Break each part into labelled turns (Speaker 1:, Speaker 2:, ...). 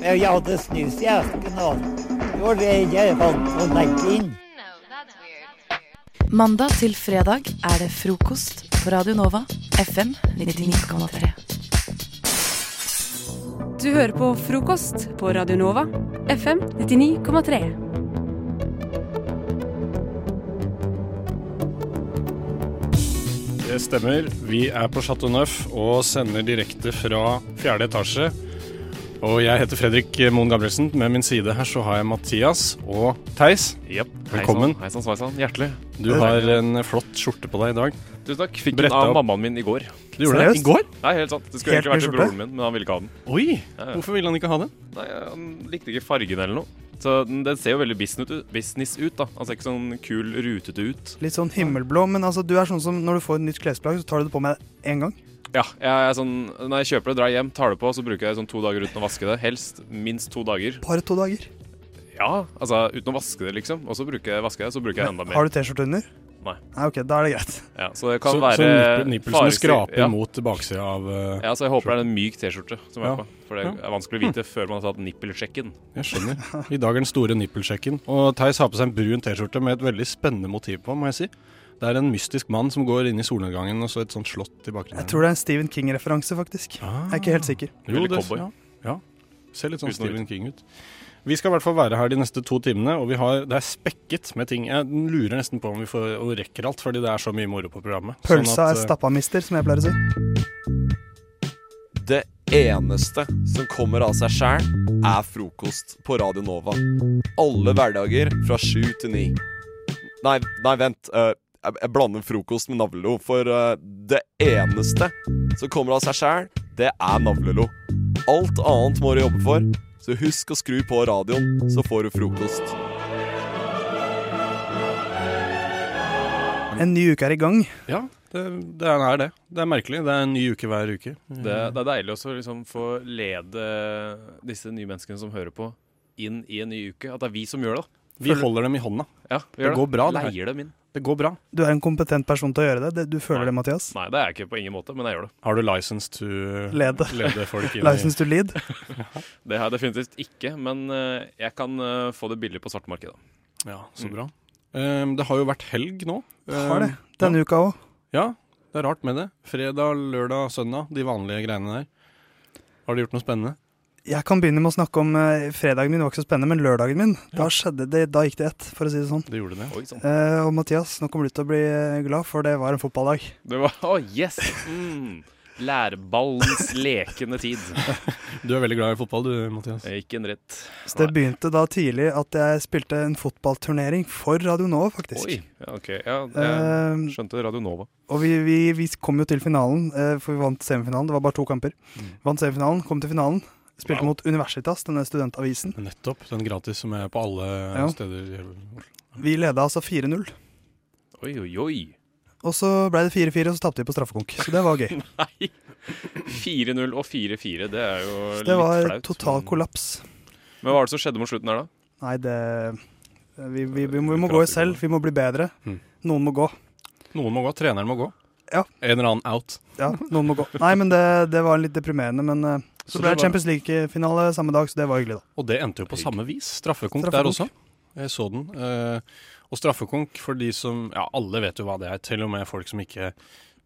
Speaker 1: Men jeg hadde snus i esken, og jo, det jeg fant å legge inn.
Speaker 2: Mandag til fredag er det frokost på Radio Nova, FM 99,3.
Speaker 3: Du hører på frokost på Radio Nova, FM 99,3.
Speaker 4: Det stemmer. Vi er på Chateau Neuf og sender direkte fra fjerde etasje. Og jeg heter Fredrik Moen Gabrielsen. Med min side her så har jeg Mathias og Theis.
Speaker 5: Yep.
Speaker 4: Velkommen.
Speaker 5: Hei sann, sveisann. Hjertelig.
Speaker 4: Du har en flott skjorte på deg i dag.
Speaker 5: Tusen takk. Fikk
Speaker 4: Brett
Speaker 5: den av
Speaker 4: opp.
Speaker 5: mammaen min i går.
Speaker 4: Du gjorde det i
Speaker 6: Seriøst?
Speaker 4: går?
Speaker 5: Nei, helt sant. Det skulle
Speaker 6: Helt
Speaker 5: egentlig vært til
Speaker 6: ny skjorte?
Speaker 5: broren min, men han ville ikke ha den.
Speaker 4: Oi!
Speaker 5: ja.
Speaker 4: Hvorfor ville han ikke ha den?
Speaker 5: Nei, Han likte ikke fargen eller noe. Så den, den ser jo veldig business ut, business ut da. Han ser ikke sånn kul, rutete ut.
Speaker 6: Litt sånn himmelblå, men altså, du er sånn som når du får et nytt klesplagg, så tar du det på med en gang.
Speaker 5: Ja, jeg er sånn Når jeg kjøper det, drar jeg hjem, tar det på, så bruker jeg sånn to dager uten å vaske det. Helst minst to dager.
Speaker 6: Bare to dager.
Speaker 5: Ja, altså uten å vaske det, liksom. Og så bruker jeg vaske det, så bruker jeg enda mer.
Speaker 6: Har du T-skjorte under?
Speaker 5: Nei.
Speaker 6: Nei, ok, da er det greit.
Speaker 5: Ja, så det kan
Speaker 4: så,
Speaker 5: være
Speaker 4: så nippel, nippelsene
Speaker 5: faresikt-
Speaker 4: skraper
Speaker 5: ja.
Speaker 4: mot baksida av eh,
Speaker 5: Ja, så jeg håper det er en myk T-skjorte som
Speaker 4: Ja.
Speaker 5: er på. For det er vanskelig å vite før man har tatt nippelsjekken.
Speaker 4: Jeg skjønner. I dag er den store nippelsjekken. Og Theis har på seg en brun T-skjorte med et veldig spennende motiv på, må jeg si. Det er en mystisk mann som går inn i solnedgangen og så et sånt slott i bakgrunnen. Ah.
Speaker 6: Jeg tror det er en Stephen King-referanse, faktisk. Jeg er ikke helt sikker.
Speaker 4: Jo,
Speaker 5: Veldig
Speaker 4: det
Speaker 5: cowboy.
Speaker 4: ja. ja. Ser litt sånn
Speaker 5: Uten å
Speaker 4: Stephen King ut. Vi skal i hvert fall være her de neste to timene, og vi har, det er spekket med ting. Jeg lurer nesten på om vi får, og rekker alt, fordi det er så mye moro på programmet. Sånn
Speaker 6: Pølsa
Speaker 4: at,
Speaker 6: er
Speaker 4: eh,
Speaker 6: stappamister, som jeg pleier å si.
Speaker 7: Det eneste som kommer av seg sjæl, er frokost på Radio Nova. Alle hverdager fra sju til ni. Nei, nei vent. eh, jeg, jeg blander frokost med navlelo, for eh, det eneste som kommer av seg sjæl, det er navlelo. Alt annet må du jobbe for, så husk å skru på radioen, så får du frokost.
Speaker 6: En ny uke er i gang.
Speaker 4: Ja, det, det er det. Det er merkelig. Det er en ny uke hver uke.
Speaker 5: Det, det er deilig også å liksom få lede disse nye menneskene som hører på, inn i en ny uke. At det er vi som gjør det.
Speaker 4: Vi holder dem i hånda.
Speaker 5: da. Ja, vi gjør
Speaker 4: Det går bra, det her.
Speaker 5: Leier dem inn.
Speaker 4: Det går bra.
Speaker 6: Du er en kompetent person til å gjøre det. det du føler
Speaker 5: Nei.
Speaker 6: det, Mathias.
Speaker 5: Nei, det er jeg ikke på ingen måte, men jeg gjør det.
Speaker 4: Har du license to
Speaker 6: Lede.
Speaker 4: lede folk inn i
Speaker 6: License to lead.
Speaker 5: Det har jeg definitivt ikke, men eh, jeg kan eh, få det billig på svartmarkedet.
Speaker 4: Ja, så bra. Um, det har jo vært helg nå.
Speaker 6: Har det.
Speaker 4: Um,
Speaker 6: Denne uka òg.
Speaker 4: Ja, det er rart med det. Fredag, lørdag, søndag. De vanlige greiene der. Har du gjort noe spennende?
Speaker 6: Jeg kan begynne med å snakke om eh, fredagen min var ikke så spennende, men lørdagen min. Da, skjedde det, da gikk det ett, for å si det sånn.
Speaker 4: Det gjorde det.
Speaker 5: Oi sann.
Speaker 6: Eh, og Mathias, nå kommer du til å bli eh, glad, for det var en fotballdag.
Speaker 5: Det var Å, yes! Mm. Lærballens lekende tid.
Speaker 4: Du er veldig glad i fotball du, Mathias.
Speaker 5: Ikke en dritt.
Speaker 6: Så det begynte da tidlig at jeg spilte en fotballturnering for Radio Nova, faktisk.
Speaker 5: Oi. Ja, OK. Ja, jeg
Speaker 6: Eh,
Speaker 5: skjønte Radio Nova.
Speaker 6: og vi, vi, vi kom jo til finalen, eh, for vi vant semifinalen. Det var bare to kamper. Vant semifinalen, kom til finalen. Spilte mot Universitas, denne studentavisen.
Speaker 4: Nettopp. Den gratis som er på alle
Speaker 6: Ja.
Speaker 4: steder i Oslo.
Speaker 6: Vi leda altså 4-0.
Speaker 5: Oi, oi, oi.
Speaker 6: Og så ble det 4-4, og så tapte vi på straffekonk. Så det var gøy.
Speaker 5: Nei! 4-0 og 4-4, det er jo
Speaker 6: Så
Speaker 5: litt
Speaker 6: det var
Speaker 5: flaut. Mm.
Speaker 6: total
Speaker 5: men-
Speaker 6: kollaps.
Speaker 5: Men hva var det som skjedde mot slutten her, da?
Speaker 6: Nei, det Vi, vi, vi, må,
Speaker 4: Vi
Speaker 6: vi må
Speaker 4: prater
Speaker 6: gå
Speaker 4: ikke om
Speaker 6: selv.
Speaker 4: det.
Speaker 6: Vi må bli bedre.
Speaker 4: Mm.
Speaker 6: Noen må gå.
Speaker 4: Noen må gå. Treneren må gå.
Speaker 6: Ja.
Speaker 4: En eller annen out.
Speaker 6: Ja, noen må gå. Nei, men det, det var litt deprimerende. Men eh,
Speaker 4: Så
Speaker 6: så
Speaker 4: det
Speaker 6: ble det
Speaker 4: var-
Speaker 6: Champions League-finale samme dag, så det var hyggelig, da.
Speaker 4: Og det endte jo på samme vis. Straffekonk,
Speaker 6: Straffekonk.
Speaker 4: der også. Jeg så den. Eh, og straffekonk for de som Ja, alle vet jo hva det er. Til og med folk som ikke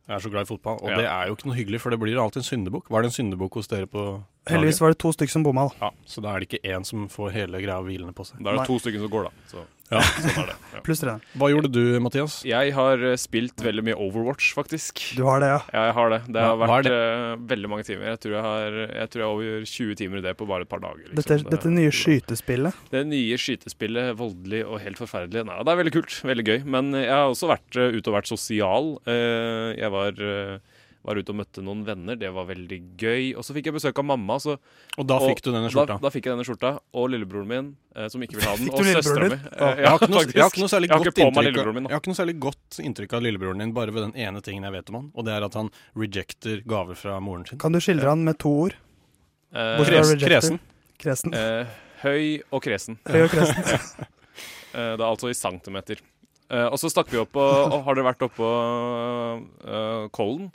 Speaker 4: er så glad i fotball. Og
Speaker 5: Ja.
Speaker 4: det er jo ikke noe hyggelig, for det blir alltid en syndebukk. Var det en syndebukk hos dere på
Speaker 6: Heldigvis var det to stykker som bomma, da.
Speaker 4: Ja, så da er det ikke én som får hele greia hvilende på seg.
Speaker 5: Da er
Speaker 6: Nei.
Speaker 5: det to stykker som går, da. Så.
Speaker 4: Ja.
Speaker 5: Sånn er det. Ja.
Speaker 6: Pluss treneren.
Speaker 4: Hva gjorde du, Mathias?
Speaker 5: Jeg har eh, spilt veldig mye Overwatch, faktisk.
Speaker 6: Du har det, ja.
Speaker 5: Ja, jeg har det. Det har
Speaker 4: Hva- hva er
Speaker 5: vært eh, veldig mange timer. Jeg tror jeg har jeg tror jeg har over 20 timer i det på bare et par dager. liksom.
Speaker 6: Dette,
Speaker 5: Det-
Speaker 6: dette nye skytespillet.
Speaker 5: Det nye skytespillet, voldelig og helt forferdelig. Nei, det er veldig kult. Veldig gøy. Men jeg har også vært eh, ute og vært sosial. Eh, Jeg var, eh, var ute og møtte noen venner. Det var veldig gøy. Og så fikk jeg besøk av mamma. så
Speaker 4: Og da
Speaker 5: Og
Speaker 4: fikk du denne skjorta.
Speaker 5: Da, da fikk jeg denne skjorta, og lillebroren min, eh, som ikke ville ha den,
Speaker 6: Fikk
Speaker 5: og
Speaker 6: du
Speaker 5: søstera
Speaker 6: lillebroren
Speaker 5: mi.
Speaker 6: din?
Speaker 5: Eh,
Speaker 4: Jeg har, ikke noe, jeg, har ikke noe særlig
Speaker 5: Jeg har
Speaker 4: godt
Speaker 5: ikke på
Speaker 4: inntrykk
Speaker 5: meg
Speaker 4: av,
Speaker 5: lillebroren min.
Speaker 4: jeg
Speaker 5: Da.
Speaker 4: har ikke noe særlig godt inntrykk av lillebroren din, bare ved den ene tingen jeg vet om han, og det er at han rejecter gaver fra moren sin.
Speaker 6: Kan du skildre han med to ord?
Speaker 5: Eh,
Speaker 6: Bortsett
Speaker 4: Kres,
Speaker 6: fra rejecter.
Speaker 4: kresen.
Speaker 6: Kresen.
Speaker 5: eh, høy og kresen.
Speaker 6: Høy og kresen.
Speaker 5: Eh, det er altså i centimeter. Eh, og så stakk vi opp på og Har dere vært oppe på eh, Kollen?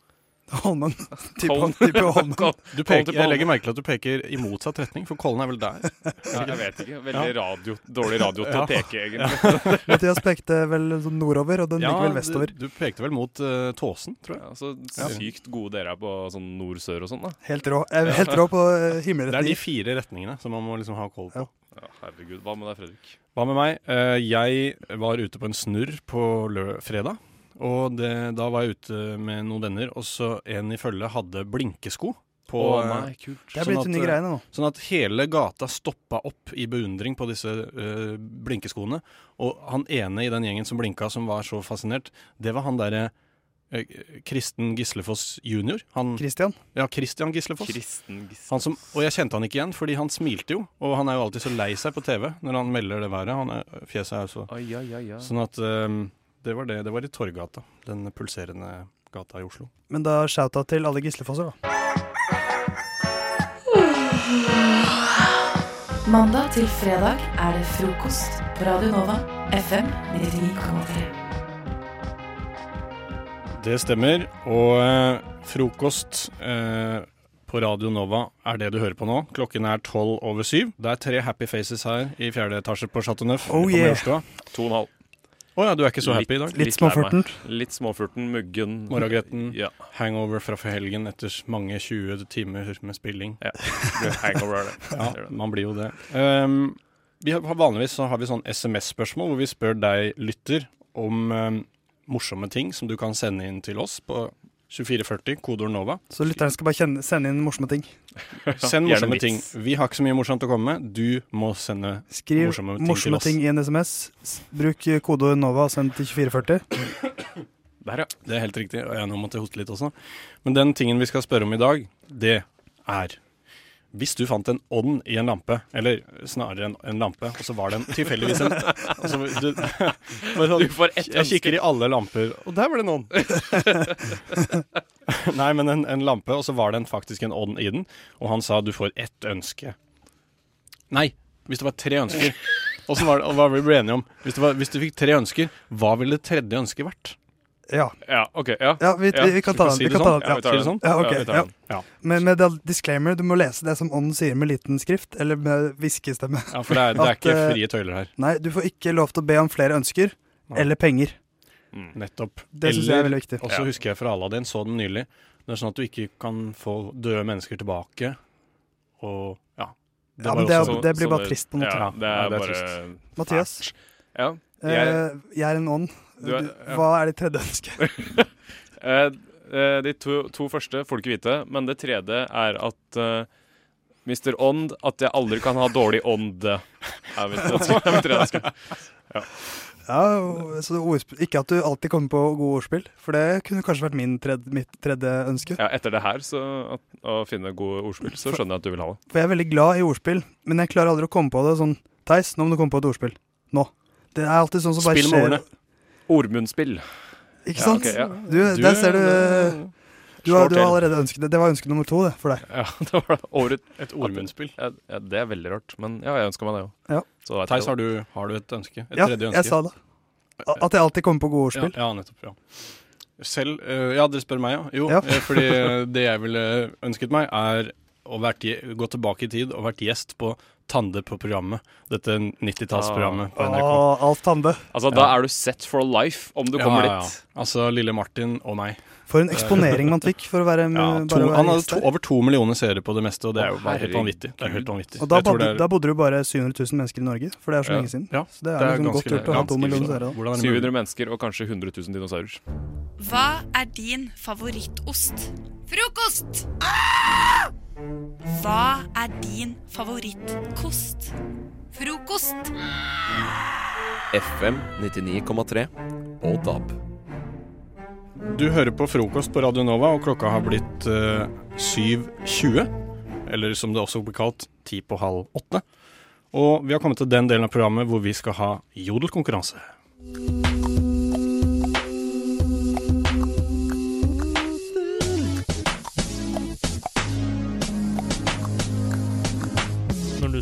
Speaker 6: Holmen.
Speaker 5: Holmen.
Speaker 6: Tipper tipper Holmen.
Speaker 4: Du peker,
Speaker 5: Holmen.
Speaker 4: jeg legger merke til at du peker i motsatt retning, for Kollen er vel der?
Speaker 5: Ja, jeg vet ikke. Veldig radio, dårlig radio til
Speaker 4: Ja.
Speaker 5: å peke, egentlig.
Speaker 6: Mathias pekte vel sånn nordover, og den
Speaker 4: Ja,
Speaker 6: gikk vel vestover.
Speaker 4: Du, du pekte vel mot eh, Tåsen, tror jeg.
Speaker 5: Ja, så Altså, sykt gode dere er på sånn nord-sør og sånn, da.
Speaker 6: Helt rå. Eh, Helt rå på eh,
Speaker 4: Det er de
Speaker 6: himmelretning.
Speaker 4: fire retningene som man må liksom ha koll på.
Speaker 6: Ja.
Speaker 5: Ja, herregud. Hva med deg, Fredrik?
Speaker 4: Hva med meg? Eh, jeg var ute på en snurr på lø fredag. Og det, da var jeg ute med noen venner, og så en i følge hadde blinkesko. På, eh,
Speaker 5: Å nei, kult.
Speaker 6: Det er blitt
Speaker 4: sånn at,
Speaker 6: en ny
Speaker 4: eh,
Speaker 6: greie nå.
Speaker 4: Sånn at hele gata stoppa opp i beundring på disse eh, blinkeskoene. Og han ene i den gjengen som blinka, som var så fascinert, det var han derre eh, Kristen Gislefoss jr. Han,
Speaker 6: Christian.
Speaker 4: ja, Christian Gislefoss.
Speaker 5: Kristen Gisle.
Speaker 4: Han som, og jeg kjente han ikke igjen, fordi han smilte jo. Og han er jo alltid så lei seg på TV når han melder det været. Han er, fjeset er jo så
Speaker 5: Ai, ai, ai, ai.
Speaker 4: Sånn at eh, det var det. Det var i Torggata. Den pulserende gata i Oslo.
Speaker 6: Men da shouta til alle gislefosser, da.
Speaker 2: Mandag til fredag er det frokost på Radio Nova FM 99,3.
Speaker 4: Det stemmer. Og eh, frokost eh, på Radio Nova er det du hører på nå. Klokken er tolv over syv. Det er tre happy faces her i fjerde etasje på Chateau Neuf.
Speaker 6: Oh, yeah.
Speaker 4: Å
Speaker 5: To og en halv.
Speaker 4: ja, du er ikke så happy i dag?
Speaker 6: Litt
Speaker 5: lei meg.
Speaker 6: småfurtent.
Speaker 5: Litt småfurten, muggen.
Speaker 4: Morgengretten.
Speaker 5: Ja.
Speaker 4: Hangover fra for helgen etter mange 20 timer med spilling.
Speaker 5: Hangover er det.
Speaker 4: Ja,
Speaker 5: Det er det.
Speaker 4: man blir jo det. Ehm, vi har, vanligvis så har vi sånn SMS-spørsmål hvor vi spør deg, lytter, om ehm, morsomme ting som du kan sende inn til oss på 2440, kodeord NOVA.
Speaker 6: Så lytteren skal bare kjenne, sende inn morsomme ting.
Speaker 4: Send
Speaker 5: gjerne
Speaker 4: morsomme ting.
Speaker 5: vits.
Speaker 4: Vi har ikke så mye morsomt å komme med. Du må sende
Speaker 6: Skriv
Speaker 4: Morsomme
Speaker 6: morsomme
Speaker 4: ting
Speaker 6: ting,
Speaker 4: til oss.
Speaker 6: i en SMS. S- Bruk eh, kode NOVA og send til 2440.
Speaker 5: Der, ja.
Speaker 4: Det er helt riktig. Og jeg nå måtte jeg hoste litt også. Men den tingen vi skal spørre om i dag, det er hvis du fant en ånd i en lampe, eller snarere en, en lampe, og så var det en, tilfeldigvis en altså, du, bare sånn,
Speaker 5: Du får ett
Speaker 4: Jeg
Speaker 5: ønske.
Speaker 4: kikker i alle lamper, og der var det noen. Nei, men en, en lampe, og så var det en, faktisk en ånd i den, og han sa du får ett ønske. Nei, hvis det var tre ønsker. Og så var det, og hva ble vi enige om? Hvis, det var, hvis du fikk tre ønsker, hva ville det tredje ønsket vært?
Speaker 6: Ja,
Speaker 5: Ja, OK. Ja.
Speaker 6: ja, vi, vi, vi kan ta
Speaker 4: vi
Speaker 6: den.
Speaker 4: si
Speaker 6: Vi
Speaker 4: det sånn?
Speaker 5: Ja, vi
Speaker 6: kan ta den. Ja.
Speaker 5: tar
Speaker 4: Sier det sånn?
Speaker 5: den.
Speaker 6: Ja, ok,
Speaker 5: vi tar
Speaker 6: ja.
Speaker 5: den.
Speaker 4: Ja.
Speaker 6: Men med det- disclaimer, du må lese det som ånden sier med liten skrift, eller med hviskestemme.
Speaker 4: Ja, for det er, det er
Speaker 6: At,
Speaker 4: ikke
Speaker 6: eh,
Speaker 4: frie tøyler her.
Speaker 6: Nei, du får ikke lov til å be om flere ønsker
Speaker 4: Nei.
Speaker 6: eller penger.
Speaker 4: Nettopp.
Speaker 6: Det syns jeg er
Speaker 4: Eller-
Speaker 6: veldig viktig.
Speaker 4: Og så husker jeg fra Aladdin, så den nylig. Det er sånn at du ikke kan få døde mennesker tilbake. Og ja. Det
Speaker 6: Ja,
Speaker 4: var
Speaker 6: men
Speaker 4: jo
Speaker 6: det,
Speaker 4: også
Speaker 6: er- det blir
Speaker 5: sånne-
Speaker 6: bare trist på en måte.
Speaker 5: Ja, det
Speaker 4: Ja,
Speaker 5: er
Speaker 4: det er
Speaker 5: bare
Speaker 6: Mathias,
Speaker 5: Ja.
Speaker 6: eh,
Speaker 5: Jeg-
Speaker 6: jeg er en ånd.
Speaker 5: Du er-
Speaker 6: Du-
Speaker 5: ja.
Speaker 6: Hva er ditt tredje ønske?
Speaker 5: Eh, eh, de to, to første får du ikke vite, men det tredje er at eh, Mr. Ånd, at jeg aldri kan ha dårlig ånd. Det Er mitt, det er mitt tredje ønske.
Speaker 6: Ja, og- så ordspill. Ikke at du alltid kommer på gode ordspill, for det kunne kanskje vært min tredje, mitt tredje ønske.
Speaker 5: ja, etter det her, så at, å finne gode ordspill, så skjønner jeg at du vil ha det.
Speaker 6: For jeg er veldig glad i ordspill, men jeg klarer aldri å komme på det sånn Theis, nå må du komme på et ordspill. Nå. Det er alltid sånn som bare
Speaker 4: Spill med
Speaker 6: skjer.
Speaker 4: ordene.
Speaker 5: Ordmunnspill.
Speaker 6: Ikke
Speaker 5: Ja,
Speaker 6: sant?
Speaker 5: ok, ja.
Speaker 6: Du, der ser du Du
Speaker 5: slår
Speaker 6: har, du har
Speaker 5: til.
Speaker 6: allerede ønsket det. Det var ønske nummer to det, for deg.
Speaker 5: Ja, det var året.
Speaker 4: Et ordmunnspill.
Speaker 5: Ja, ja, det er veldig rart, men ja, jeg ønsker meg det òg.
Speaker 6: Ja.
Speaker 4: Theis, har du, har du et ønske? Et
Speaker 6: Ja,
Speaker 4: tredje ønske?
Speaker 6: jeg sa det. A- At jeg alltid kommer på gode
Speaker 4: ja,
Speaker 6: ordspill.
Speaker 4: ja, nettopp. Ja. Selv eh, Ja, dere spør meg, ja. Jo,
Speaker 6: Ja.
Speaker 4: eh, fordi eh, det jeg ville ønsket meg, er å vært, gje- gå tilbake i tid og vært gjest på Tande på programmet. Dette 90-tallsprogrammet på NRK.
Speaker 6: Å, Alf Tande.
Speaker 5: Altså, Da er du set for life om du kommer dit.
Speaker 4: Altså Lille Martin og meg.
Speaker 6: For en eksponering man fikk for å være med.
Speaker 4: Ja,
Speaker 6: bare
Speaker 4: to,
Speaker 6: å være
Speaker 4: han hadde
Speaker 6: gjest
Speaker 4: to,
Speaker 6: der.
Speaker 4: over to millioner seere på det meste, og det er jo
Speaker 5: Å,
Speaker 4: bare helt
Speaker 5: herregud.
Speaker 4: vanvittig. Det er helt vanvittig.
Speaker 6: Og da
Speaker 4: Jeg tror
Speaker 6: bodde,
Speaker 4: det er-
Speaker 6: da bodde du bare 700 000 mennesker i Norge, for det er så
Speaker 5: Ja.
Speaker 6: lenge siden.
Speaker 4: ja,
Speaker 6: Så det er,
Speaker 4: det er
Speaker 6: liksom
Speaker 4: ganske
Speaker 6: godt gjort å ha
Speaker 4: ganske
Speaker 6: to millioner
Speaker 4: ille.
Speaker 6: seere da.
Speaker 4: Hvordan er det mulig?
Speaker 5: 700 mennesker og kanskje 100 000 dinosaurer.
Speaker 8: Hva er din favorittost? Frokost! Ah! Hva er din favorittkost? Frokost!
Speaker 7: FM 99,3 og DAB.
Speaker 4: Du hører på frokost på Radio Nova, og klokka har blitt eh, 7.20. Eller som det også blir kalt, ti på halv åtte. Og vi har kommet til den delen av programmet hvor vi skal ha jodelkonkurranse.
Speaker 9: Når du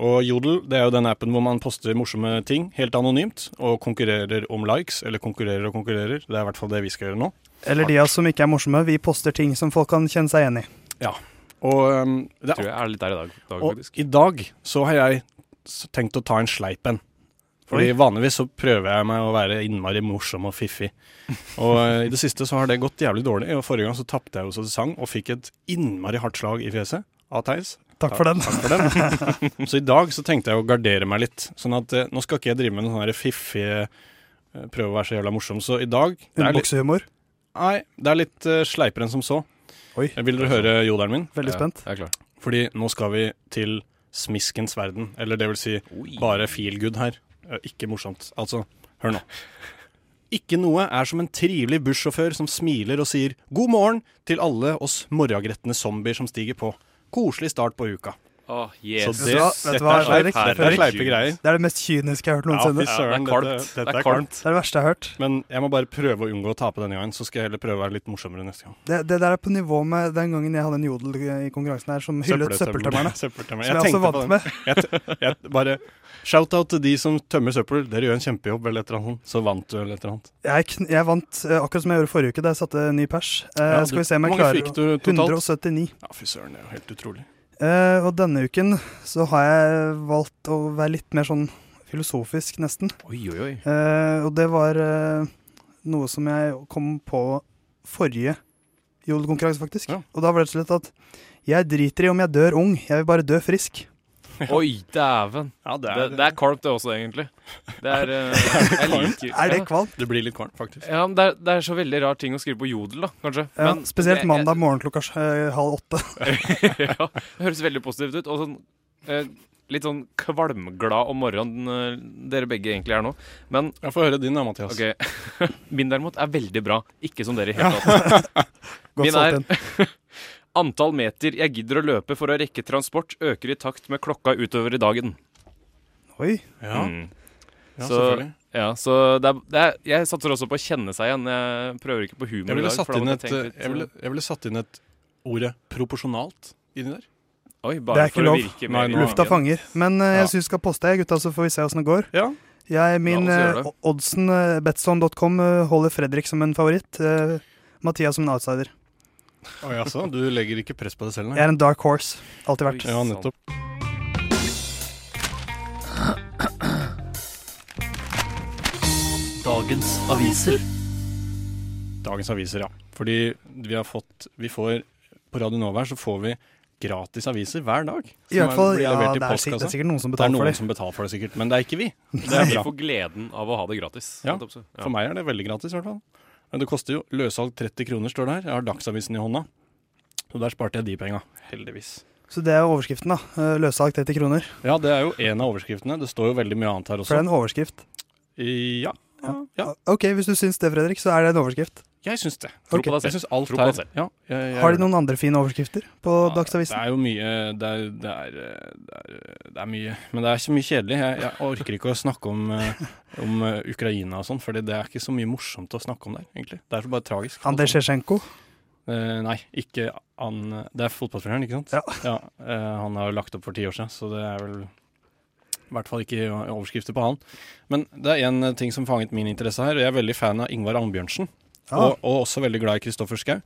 Speaker 4: Og Jodel det er jo den appen hvor man poster morsomme ting helt anonymt, og konkurrerer om likes, eller konkurrerer og konkurrerer. Det er i hvert fall det vi skal gjøre nå.
Speaker 6: Eller de av oss som ikke er morsomme, vi poster ting som folk kan kjenne seg igjen i.
Speaker 4: Og eh, det
Speaker 5: Tror jeg er litt der i dag, dag
Speaker 4: Og
Speaker 5: faktisk.
Speaker 4: i dag så har jeg s- tenkt å ta en sleip en. Fordi vanligvis så prøver jeg meg å være innmari morsom og fiffig. Og eh, i det siste så har det gått jævlig dårlig. Og forrige gang så tapte jeg jo så det sang, og fikk et innmari hardt slag i fjeset av Theis.
Speaker 6: Takk for den.
Speaker 4: Takk for den. så i dag så tenkte jeg å gardere meg litt. Sånn at eh, nå skal ikke jeg drive med noen sånne her fiffige eh, Prøve å være så jævla morsom. Så i dag det er litt,
Speaker 6: Underbuksehumor.
Speaker 4: Nei, det er litt eh, sleipere enn som så.
Speaker 6: Oi.
Speaker 4: Vil dere høre jodelen min?
Speaker 6: Veldig spent.
Speaker 5: Ja, jeg er klar.
Speaker 4: Fordi nå skal vi til smiskens verden. Eller det vil si bare feel good her. Eh, Ikke morsomt. Altså, hør nå. Ikke noe er som en trivelig bussjåfør som smiler og sier 'god morgen' til alle oss morgengretne zombier som stiger på. Koselig start på uka.
Speaker 5: Åh, yes.
Speaker 4: Så det,
Speaker 6: du hva? Vet du
Speaker 4: dette,
Speaker 6: hva,
Speaker 4: er sleip,
Speaker 6: Erik?
Speaker 4: dette er
Speaker 5: Herregud.
Speaker 4: sleipe greier.
Speaker 6: Det er det mest kyniske jeg har
Speaker 4: Ja,
Speaker 6: hørt
Speaker 4: fy
Speaker 6: noensinne.
Speaker 4: søren,
Speaker 5: Ja, det er
Speaker 4: dette,
Speaker 5: kvalmt.
Speaker 4: dette
Speaker 5: Det er
Speaker 4: er kvalmt.
Speaker 6: Det er det verste jeg har hørt.
Speaker 4: Men jeg må bare prøve å unngå å tape denne gangen, så skal jeg heller prøve å være litt morsommere neste gang.
Speaker 6: Det, det der er på nivå med den gangen jeg hadde en jodel i konkurransen her som hyllet søppeltømmerne.
Speaker 4: Søppeltømmerne.
Speaker 6: Som jeg også
Speaker 4: tenkte på
Speaker 6: vant
Speaker 4: den.
Speaker 6: med.
Speaker 4: Jeg bare Shout-out til de som tømmer søppel. Dere gjør en kjempejobb, eller et eller annet. Så vant du, eller et eller annet.
Speaker 6: Jeg, kn jeg vant eh, akkurat som jeg gjorde forrige uke, da jeg satte ny pers. Eh,
Speaker 4: Ja,
Speaker 6: skal
Speaker 4: du-
Speaker 6: vi se om jeg
Speaker 4: Hvor mange fikk du
Speaker 6: klarer
Speaker 4: totalt?
Speaker 6: 179.
Speaker 4: Ja, fy søren, det er jo helt utrolig.
Speaker 6: Eh, og denne uken så har jeg valgt å være litt mer sånn filosofisk, nesten.
Speaker 5: Oi, oi, oi.
Speaker 6: Eh, og det var eh, noe som jeg kom på forrige jodelkonkurranse, faktisk.
Speaker 4: Ja.
Speaker 6: Og da var det rett og slett at jeg driter i om jeg dør ung, jeg vil bare dø frisk.
Speaker 5: Oi, dæven.
Speaker 4: Ja,
Speaker 5: Det, det er kvalmt, det også, egentlig. Det er eh, Jeg liker
Speaker 6: Er det
Speaker 5: Ja.
Speaker 6: kvalmt?
Speaker 4: Det blir litt kvalmt, faktisk.
Speaker 5: Ja, men det er, det er så veldig rar ting å skrive på jodel, da, kanskje.
Speaker 6: Ja,
Speaker 5: Men
Speaker 6: spesielt
Speaker 5: det-
Speaker 6: mandag morgen klokka eh, halv åtte.
Speaker 5: ja, det høres veldig positivt ut. Og sånn, eh, litt sånn kvalmglad om morgenen eh, dere begge egentlig er nå. Men
Speaker 4: Jeg får høre din da, Mathias.
Speaker 5: ok, min derimot er veldig bra. Ikke som dere i hele tatt.
Speaker 6: Godt
Speaker 5: Min er-
Speaker 6: solgt inn.
Speaker 5: Antall meter jeg gidder å løpe for å rekke transport, øker i takt med klokka utover i dagen.
Speaker 6: Oi.
Speaker 4: Ja,
Speaker 5: Mm.
Speaker 4: ja
Speaker 5: Så-
Speaker 4: selvfølgelig.
Speaker 5: Ja, så det er, det er, Jeg satser også på å kjenne seg igjen. Jeg prøver ikke på
Speaker 4: Jeg
Speaker 5: humor i
Speaker 4: ville
Speaker 5: dag. for
Speaker 4: satt
Speaker 5: da
Speaker 4: inn
Speaker 5: måtte
Speaker 4: et, eh,
Speaker 5: tenke litt,
Speaker 4: jeg ville, jeg ville satt inn et ordet proporsjonalt inni der.
Speaker 5: eh, Oi,
Speaker 6: Det
Speaker 5: bare
Speaker 6: er ikke
Speaker 5: for
Speaker 6: lov.
Speaker 5: å
Speaker 4: Nei,
Speaker 5: virke mer
Speaker 4: nå-
Speaker 5: i
Speaker 6: Lufta
Speaker 5: magen.
Speaker 6: fanger. Men eh,
Speaker 4: Ja.
Speaker 6: jeg syns vi skal poste, jeg, gutta, så får vi se åssen det går.
Speaker 4: Ja.
Speaker 6: Jeg, min
Speaker 5: La oss gjøre
Speaker 6: eh,
Speaker 5: det.
Speaker 6: oddsen, eh, betson.com, eh, holder Fredrik som en favoritt. eh, Mathias som en outsider.
Speaker 4: Oi, altså, du legger ikke press på deg selv,
Speaker 6: Jeg
Speaker 4: nei?
Speaker 6: er en dark horse. Alltid vært.
Speaker 5: Oi.
Speaker 4: Ja, nettopp.
Speaker 9: Dagens aviser.
Speaker 4: Dagens aviser, ja. Fordi vi har fått Vi får På Radio Nova her så får vi gratis aviser hver dag.
Speaker 6: I hvert fall,
Speaker 4: blir
Speaker 6: ja,
Speaker 4: levert i
Speaker 6: det er,
Speaker 4: postkassa.
Speaker 6: sikkert, det er sikkert noen som
Speaker 4: Det er
Speaker 6: betaler
Speaker 4: noen
Speaker 6: for det.
Speaker 4: som betaler for det, sikkert. Men det er ikke vi. Det
Speaker 5: Ja,
Speaker 4: er
Speaker 5: Vi
Speaker 4: bra.
Speaker 5: får gleden av å ha det gratis.
Speaker 4: Ja,
Speaker 5: nettopp så.
Speaker 4: For meg er det veldig gratis, i hvert fall. Men det koster jo løssalg 30 kroner, står det her. Jeg har Dagsavisen i hånda. Så der sparte jeg de penga. Heldigvis.
Speaker 6: Så det er jo overskriften, da. Eh, Løssalg 30 kroner.
Speaker 4: Ja, det er jo en av overskriftene. Det står jo veldig mye annet her
Speaker 6: For det
Speaker 4: også.
Speaker 6: er en overskrift.
Speaker 4: Ja. ja, ja.
Speaker 6: OK, hvis du syns det, Fredrik, så er det en overskrift.
Speaker 4: Jeg syns det.
Speaker 5: Tro på deg
Speaker 4: Jeg
Speaker 5: selv.
Speaker 4: syns alt
Speaker 5: Tro på
Speaker 4: her
Speaker 5: deg selv.
Speaker 4: ja, jeg, jeg,
Speaker 6: Har de noen andre fine overskrifter på
Speaker 4: Ja,
Speaker 6: Dagsavisen?
Speaker 4: Det er jo mye det er, det, er, det, er, det er mye. Men det er så mye kjedelig. Jeg, jeg orker ikke å snakke om, eh, om eh, Ukraina og sånn, Fordi det er ikke så mye morsomt å snakke om der, egentlig. Det er så bare tragisk.
Speaker 6: Andrej Sjetsjenko.
Speaker 4: Eh, nei, ikke han Det er fotballspilleren, ikke sant?
Speaker 6: Ja.
Speaker 4: eh, han har jo lagt opp for ti år siden, så det er vel i hvert fall ikke overskrifter på han. Men det er én ting som fanget min interesse her. og Jeg er veldig fan av Ingvar Ambjørnsen,
Speaker 6: Ah,
Speaker 4: og, og også veldig glad i Kristoffer Schau.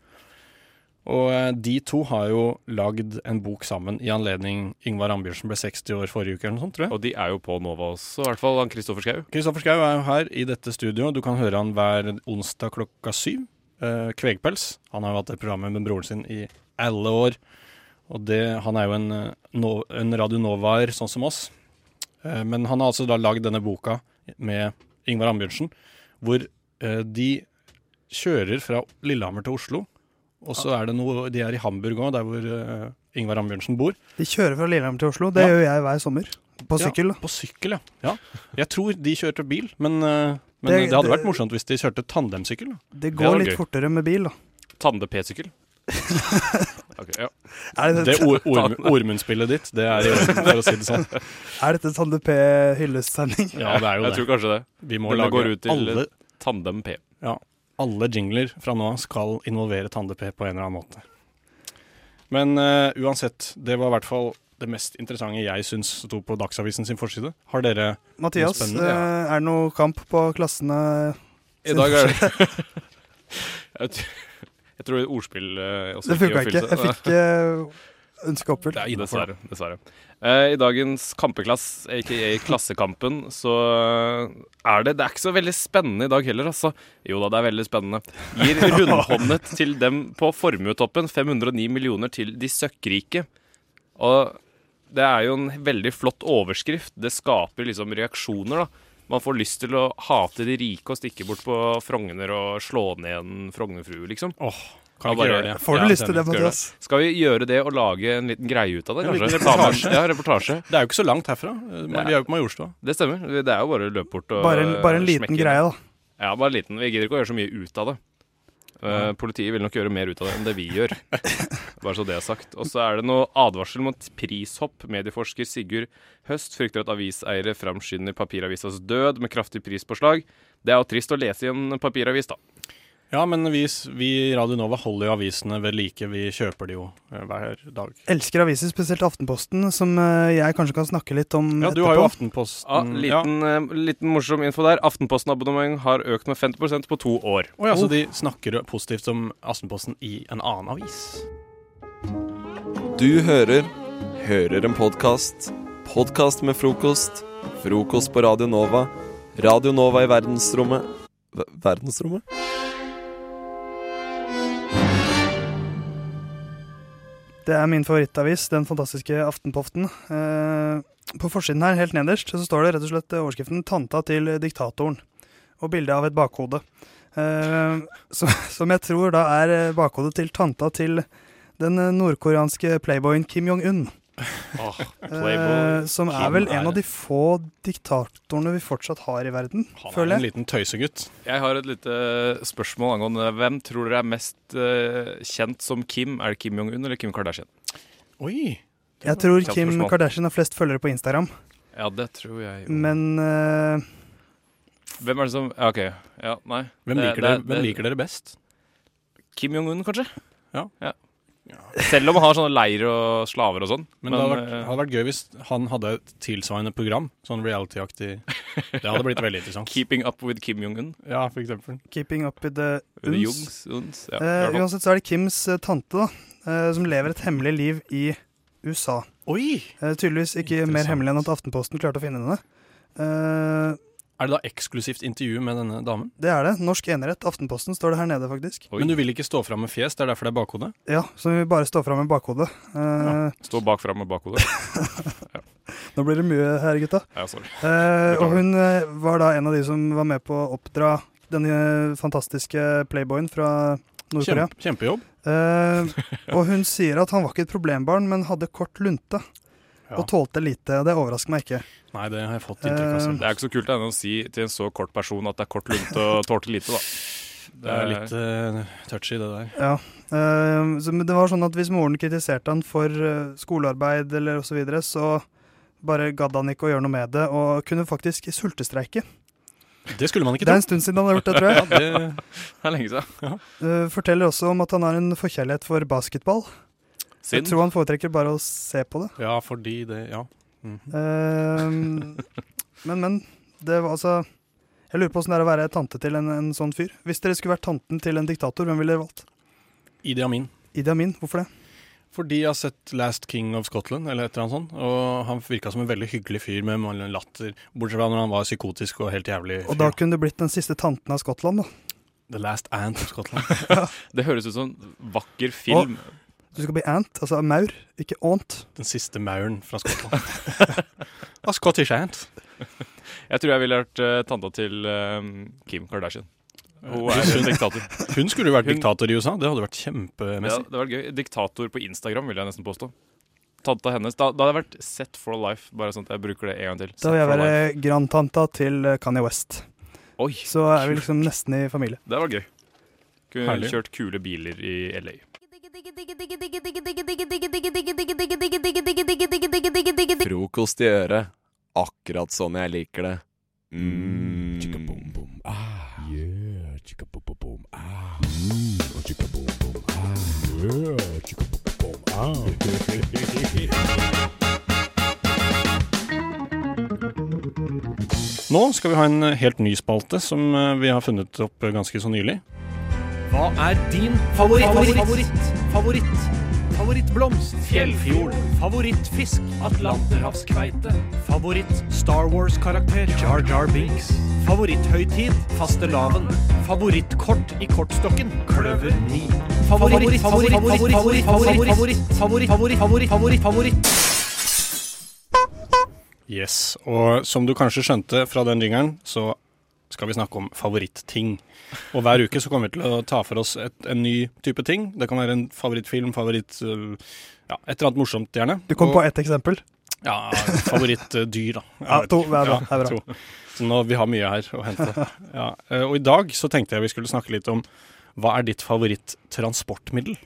Speaker 4: Og eh, de to har jo lagd en bok sammen i anledning Ingvar Ambjørnsen ble 60 år forrige uke, eller noe sånt, tror jeg.
Speaker 5: Og de er jo på Nova også, i hvert fall han Kristoffer Schau.
Speaker 4: Kristoffer Schau er jo her i dette studioet. Du kan høre han hver onsdag klokka syv. Eh, Kvegpels. Han har jo hatt det programmet med broren sin i alle år. Og det, han er jo en, eh, no, en radionovaer, sånn som oss. Eh, men han har altså da lagd denne boka med Ingvar Ambjørnsen, hvor eh, de kjører fra Lillehammer til Oslo. Og så er det noe De er i Hamburg òg, der hvor eh, Ingvar Ambjørnsen bor.
Speaker 6: de kjører fra Lillehammer til Oslo. Det
Speaker 4: Ja.
Speaker 6: gjør jeg hver sommer. På
Speaker 4: Ja.
Speaker 6: sykkel. da.
Speaker 4: På sykkel, ja. ja. Jeg tror de kjørte bil, men, eh, men det,
Speaker 6: Det-
Speaker 4: hadde
Speaker 6: det-
Speaker 4: vært morsomt hvis de kjørte tandemsykkel. da.
Speaker 6: Det
Speaker 5: hadde
Speaker 6: går
Speaker 5: vært
Speaker 6: litt
Speaker 5: gøy.
Speaker 6: fortere med bil, da.
Speaker 5: Tande P-sykkel. Ok, ja.
Speaker 6: Er, det,
Speaker 4: Det or orm ormundspillet ditt, det er i orden, for å si det sånn.
Speaker 6: er dette Sande P-hyllestsending?
Speaker 4: Ja, det er jo
Speaker 5: Jeg tror
Speaker 4: det.
Speaker 5: kanskje det.
Speaker 4: Vi må
Speaker 5: Denne
Speaker 4: lage
Speaker 5: går ut til
Speaker 4: alle,
Speaker 5: Tandem P.
Speaker 4: alle jingler fra nå av skal involvere Tande-P på en eller annen måte. Men eh, uansett, det var i hvert fall det mest interessante jeg syns sto på Dagsavisen sin forside. Har dere
Speaker 6: Mathias,
Speaker 4: Spennende,
Speaker 6: eh,
Speaker 4: ja.
Speaker 6: er det noe kamp på klassene?
Speaker 5: I dag er det Jeg t- jeg tror ordspill eh, også
Speaker 6: Det funka
Speaker 5: oppfylte
Speaker 6: ikke. Jeg
Speaker 5: det.
Speaker 6: fikk eh, ønsket oppfylt.
Speaker 5: Det er dessverre. dessverre. Eh, I dagens kampeklass, aka Klassekampen, så eh, er det Det er ikke så veldig spennende i dag heller, altså. Jo da, det er veldig spennende. Gir rundhåndet til dem på formuetoppen 509 millioner til de søkkrike. Og det er jo en veldig flott overskrift. Det skaper liksom reaksjoner, da. Man får lyst til å hate de rike og stikke bort på Frogner og slå ned en Frognerfrue, liksom.
Speaker 4: Åh,
Speaker 5: Ja,
Speaker 4: kan vi
Speaker 5: bare
Speaker 4: ikke
Speaker 5: gjør
Speaker 4: gjøre det?
Speaker 6: Får du
Speaker 4: Ja,
Speaker 6: lyst til
Speaker 4: enig.
Speaker 6: det,
Speaker 5: skal gjøre
Speaker 6: Mathias?
Speaker 5: Skal vi gjøre det og lage en liten greie ut av det,
Speaker 4: En
Speaker 5: kanskje?
Speaker 4: liten
Speaker 5: Ta med- Ja, reportasje.
Speaker 4: Det er jo ikke så langt herfra. Eh, men
Speaker 5: Ja.
Speaker 4: Vi er jo på Majorstua.
Speaker 5: Det stemmer. Det er jo bare å løpe bort og
Speaker 6: Bare en, bare en liten
Speaker 5: smekke inn.
Speaker 6: greie, da.
Speaker 5: Ja, bare en liten. Vi gidder ikke å gjøre så mye ut av det. Eh, Politiet vil nok gjøre mer ut av det enn det vi gjør. Bare så det er sagt. Og så er det noe advarsel mot prishopp. Medieforsker Sigurd Høst frykter at aviseiere framskynder papiravisas død med kraftig prispåslag. Det er jo trist å lese i en papiravis, da.
Speaker 4: Ja, men vi, s- vi i Radio Nova holder jo avisene ved like. Vi kjøper de jo eh, hver dag.
Speaker 6: Elsker aviser, spesielt Aftenposten, som eh, jeg kanskje kan snakke litt om
Speaker 4: Ja, du har jo Aftenposten. Mm.
Speaker 5: Ja, liten, eh, liten morsom info der. Aftenposten-abonnement har økt med 50 på to år.
Speaker 4: Å ja, så
Speaker 5: Oh.
Speaker 4: de snakker positivt om Aftenposten i en annen avis.
Speaker 7: Du hører Hører en podkast. Podkast med frokost. Frokost på Radio Nova. Radio Nova i verdensrommet Ver- Verdensrommet?
Speaker 6: Det er min favorittavis, den fantastiske Aftenpoften. Eh, på forsiden her, helt nederst, så står det rett og slett eh, overskriften 'Tanta til diktatoren' og bilde av et bakhode. Eh, som, som jeg tror da er eh, bakhodet til tanta til den eh, nordkoreanske playboyen Kim Jong-un.
Speaker 5: Åh, Ah,
Speaker 6: Eh,
Speaker 5: Playboy.
Speaker 6: som er
Speaker 4: Kim
Speaker 6: vel
Speaker 4: er-
Speaker 6: en av de få diktatorene vi fortsatt har i verden,
Speaker 4: Han er
Speaker 6: føler
Speaker 4: en
Speaker 6: jeg.
Speaker 4: liten tøysegutt.
Speaker 5: Jeg har et lite eh, spørsmål angående hvem tror dere er mest eh, kjent som Kim? Er det Kim Jong-un eller Kim Kardashian?
Speaker 4: Oi!
Speaker 6: Jeg tror
Speaker 5: Kjapt
Speaker 6: Kim
Speaker 5: spørsmål.
Speaker 6: Kardashian har flest følgere på Instagram,
Speaker 5: Ja, det tror jeg jo.
Speaker 6: men eh,
Speaker 5: Hvem er det som ja, OK. Ja, nei.
Speaker 4: Hvem
Speaker 5: Det-
Speaker 4: liker,
Speaker 5: det-
Speaker 4: dere,
Speaker 5: det-
Speaker 4: hvem liker dere best?
Speaker 5: Kim Jong-un, kanskje?
Speaker 4: Ja.
Speaker 5: Selv om han har sånne leir og slaver og sånn.
Speaker 4: Men, det hadde vært,
Speaker 5: eh,
Speaker 4: hadde vært gøy hvis han hadde et tilsvarende program. Sånn reality-aktig. Det hadde blitt veldig interessant.
Speaker 5: Keeping up with Kim Jong-un.
Speaker 4: Ja, for eksempel.
Speaker 6: 'Keeping up with the
Speaker 5: Eller Jungs.
Speaker 6: uns'.
Speaker 5: Uns, ja, i
Speaker 6: Eh,
Speaker 5: hvert fall.
Speaker 6: uansett så er det Kims eh, tante da, eh, som lever et hemmelig liv i USA.
Speaker 4: Oi!
Speaker 6: Eh, tydeligvis ikke mer
Speaker 4: Interessant.
Speaker 6: hemmelig enn at Aftenposten klarte å finne henne. Eh,
Speaker 4: Er det da eksklusivt intervju med denne damen?
Speaker 6: det er det. Norsk enerett, Aftenposten, står det her nede faktisk.
Speaker 5: Oi.
Speaker 4: Men du vil ikke stå fram med fjes, det er derfor det er bakhode?
Speaker 6: Ja, så vi bare står fram med bakhodet. Eh,
Speaker 5: Stå bakfra med bakhodet.
Speaker 6: Nå blir det mye her, gutta.
Speaker 5: Ja, sorry.
Speaker 6: Eh, og hun eh, var da en av de som var med på å oppdra denne fantastiske playboyen fra Nord-Korea.
Speaker 4: Kjempe, kjempejobb.
Speaker 6: Eh, og hun sier at han var ikke et problembarn, men hadde kort lunte.
Speaker 4: Ja.
Speaker 6: Og tålte lite. og Det overrasker meg ikke.
Speaker 4: Nei, det har jeg fått inntrykk av
Speaker 6: Eh,
Speaker 4: selv.
Speaker 5: Det er ikke så kult ennå å si til en så kort person at det er kort lunte og tålte lite, da.
Speaker 4: Det er litt eh, touchy, det der.
Speaker 6: Ja. eh, så, men det var sånn at hvis moren kritiserte han for eh, skolearbeid eller osv., så, videre, så bare gadd han ikke å gjøre noe med det, og kunne faktisk sultestreike.
Speaker 4: Det skulle man ikke
Speaker 6: Det er
Speaker 4: tro.
Speaker 6: en stund siden han har gjort det, tror jeg.
Speaker 4: Det,
Speaker 5: Det er lenge siden.
Speaker 6: Eh, forteller også om at han har en forkjærlighet for basketball. Jeg
Speaker 5: Synd.
Speaker 6: tror han foretrekker bare å se på det.
Speaker 4: ja, fordi det Ja. Mm.
Speaker 6: Eh, men, men. Det var altså Jeg lurer på åssen det er å være tante til en, en sånn fyr. Hvis dere skulle vært tanten til en diktator, hvem ville dere valgt?
Speaker 4: Idi Amin.
Speaker 6: Idi Amin, hvorfor det?
Speaker 4: Fordi jeg har sett Last King of Scotland, eller et eller annet sånt. Og han virka som en veldig hyggelig fyr med mange latter, bortsett fra når han var psykotisk og helt jævlig.
Speaker 6: Og
Speaker 4: fyr,
Speaker 6: da
Speaker 4: da.
Speaker 6: kunne det blitt den siste tanten av Skottland, da.
Speaker 4: The Last Ant of Scotland.
Speaker 5: Det høres ut som en vakker film.
Speaker 6: Du skal bli ant, altså maur, ikke aunt.
Speaker 4: Den siste mauren fra Skottland. A Scottish Ant.
Speaker 5: Jeg tror jeg ville vært eh, tanta til eh, Kim Kardashian. Hun er en diktator.
Speaker 4: Hun skulle jo vært
Speaker 5: Hun-
Speaker 4: diktator i USA. Det hadde vært
Speaker 5: Ja,
Speaker 4: kjempemessig.
Speaker 5: det var gøy. Diktator på Instagram, vil jeg nesten påstå. Tanta hennes. Da, da hadde jeg vært set for life. Bare sånn at jeg bruker det en gang til.
Speaker 6: Da
Speaker 5: Set
Speaker 6: vil jeg
Speaker 5: for
Speaker 6: være
Speaker 5: life.
Speaker 6: grandtanta til eh, Kanye West.
Speaker 5: Oi,
Speaker 6: Så er vi liksom nesten i familie.
Speaker 5: det var gøy. Kunne
Speaker 4: Herlig.
Speaker 5: kjørt kule biler i LA.
Speaker 10: digg, digg,
Speaker 7: Frokost i øret. Akkurat sånn jeg liker det. Mm.
Speaker 4: Nå skal vi ha en helt ny spalte som eh, vi har funnet opp eh, ganske så nylig.
Speaker 9: Hva er din favoritt? Favoritt? Favoritt? favoritt? Favorittblomst? Fjellfjord. Favorittfisk? Atlanterhavskveite. Favoritt Star Wars-karakter? Jar Jar Binks. Favoritthøytid? Fastelavn. Favorittkort i kortstokken? Kløver 9. Favoritt, favoritt, favoritt, favoritt, favoritt, favoritt, favoritt, favoritt, favoritt, favoritt, favoritt.
Speaker 4: Yes, og som du kanskje skjønte fra den jingeren, så skal vi snakke om favorittting. Og hver uke så kommer vi til å ta for oss et, en ny type ting. Det kan være en favorittfilm, favoritt øh, Ja, et eller annet morsomt, gjerne.
Speaker 6: Du kom
Speaker 4: Og-
Speaker 6: på ett eksempel.
Speaker 4: Ja, favorittdyr, da. Jeg
Speaker 6: Ja,
Speaker 4: vet
Speaker 6: to.
Speaker 4: ikke.
Speaker 6: Det er bra.
Speaker 4: Ja,
Speaker 6: Det er bra.
Speaker 4: to. Så nå, vi har mye her å hente. Ja. eh, Og i dag så tenkte jeg vi skulle snakke litt om hva er ditt favoritt-transportmiddel?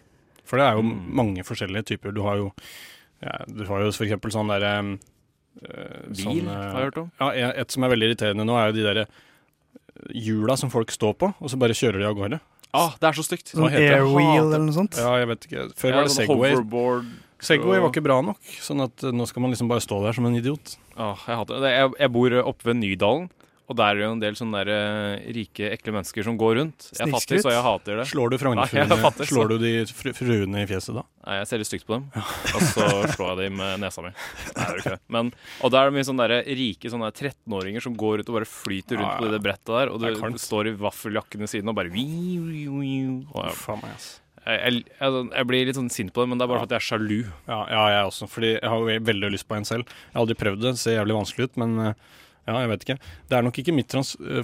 Speaker 4: For det er jo
Speaker 5: Mm.
Speaker 4: mange forskjellige typer. Du har jo, ja, du har jo for eksempel sånn derre um,
Speaker 6: Sånn,
Speaker 5: Bil
Speaker 6: eh,
Speaker 5: har jeg hørt om.
Speaker 4: ja, e- et som er veldig irriterende nå, er jo de derre eh, hjula som folk står på, og så bare kjører de av gårde.
Speaker 5: Ah, det er så stygt.
Speaker 4: Hva
Speaker 6: Sånn
Speaker 4: heter det?
Speaker 6: airwheel eller noe sånt.
Speaker 4: Ja, jeg vet ikke. Før
Speaker 5: Ja,
Speaker 4: var det
Speaker 5: sånn
Speaker 4: Segway.
Speaker 5: hoverboard.
Speaker 4: Segway var ikke bra nok, sånn at eh, nå skal man liksom bare stå der som en idiot.
Speaker 5: Åh, jeg, hater det. jeg, jeg bor oppe ved Nydalen, og der er det jo en del sånne der, eh, rike, ekle mennesker som går rundt. Jeg er fattig,
Speaker 6: Snikskryt.
Speaker 5: så jeg hater det.
Speaker 4: Slår du
Speaker 5: Nei, jeg fatter
Speaker 4: frognfruene
Speaker 5: ikke.
Speaker 4: Slår du de fru- fruene i fjeset da?
Speaker 5: Nei, Jeg ser litt stygt på dem, og så slår jeg dem med nesa mi. Nei, det er jo ikke det. Men, og da er det mye sånne der eh, rike sånne der 13-åringer som går ut og bare flyter
Speaker 4: Ja,
Speaker 5: rundt
Speaker 4: ja.
Speaker 5: på det brettet der, og
Speaker 4: Det er
Speaker 5: du
Speaker 4: kaldt.
Speaker 5: står i vaffeljakken ved siden og bare vi- vi- vi- og jeg,
Speaker 4: Faen meg, ass.
Speaker 5: jeg, jeg, jeg blir litt sånn sint på dem, men det er bare fordi jeg er sjalu.
Speaker 4: Ja, ja, jeg også, fordi jeg har jo veldig lyst på en selv. Jeg har aldri prøvd det, det ser jævlig vanskelig ut, men eh, ja, jeg vet ikke. Det er nok ikke mitt trans eh,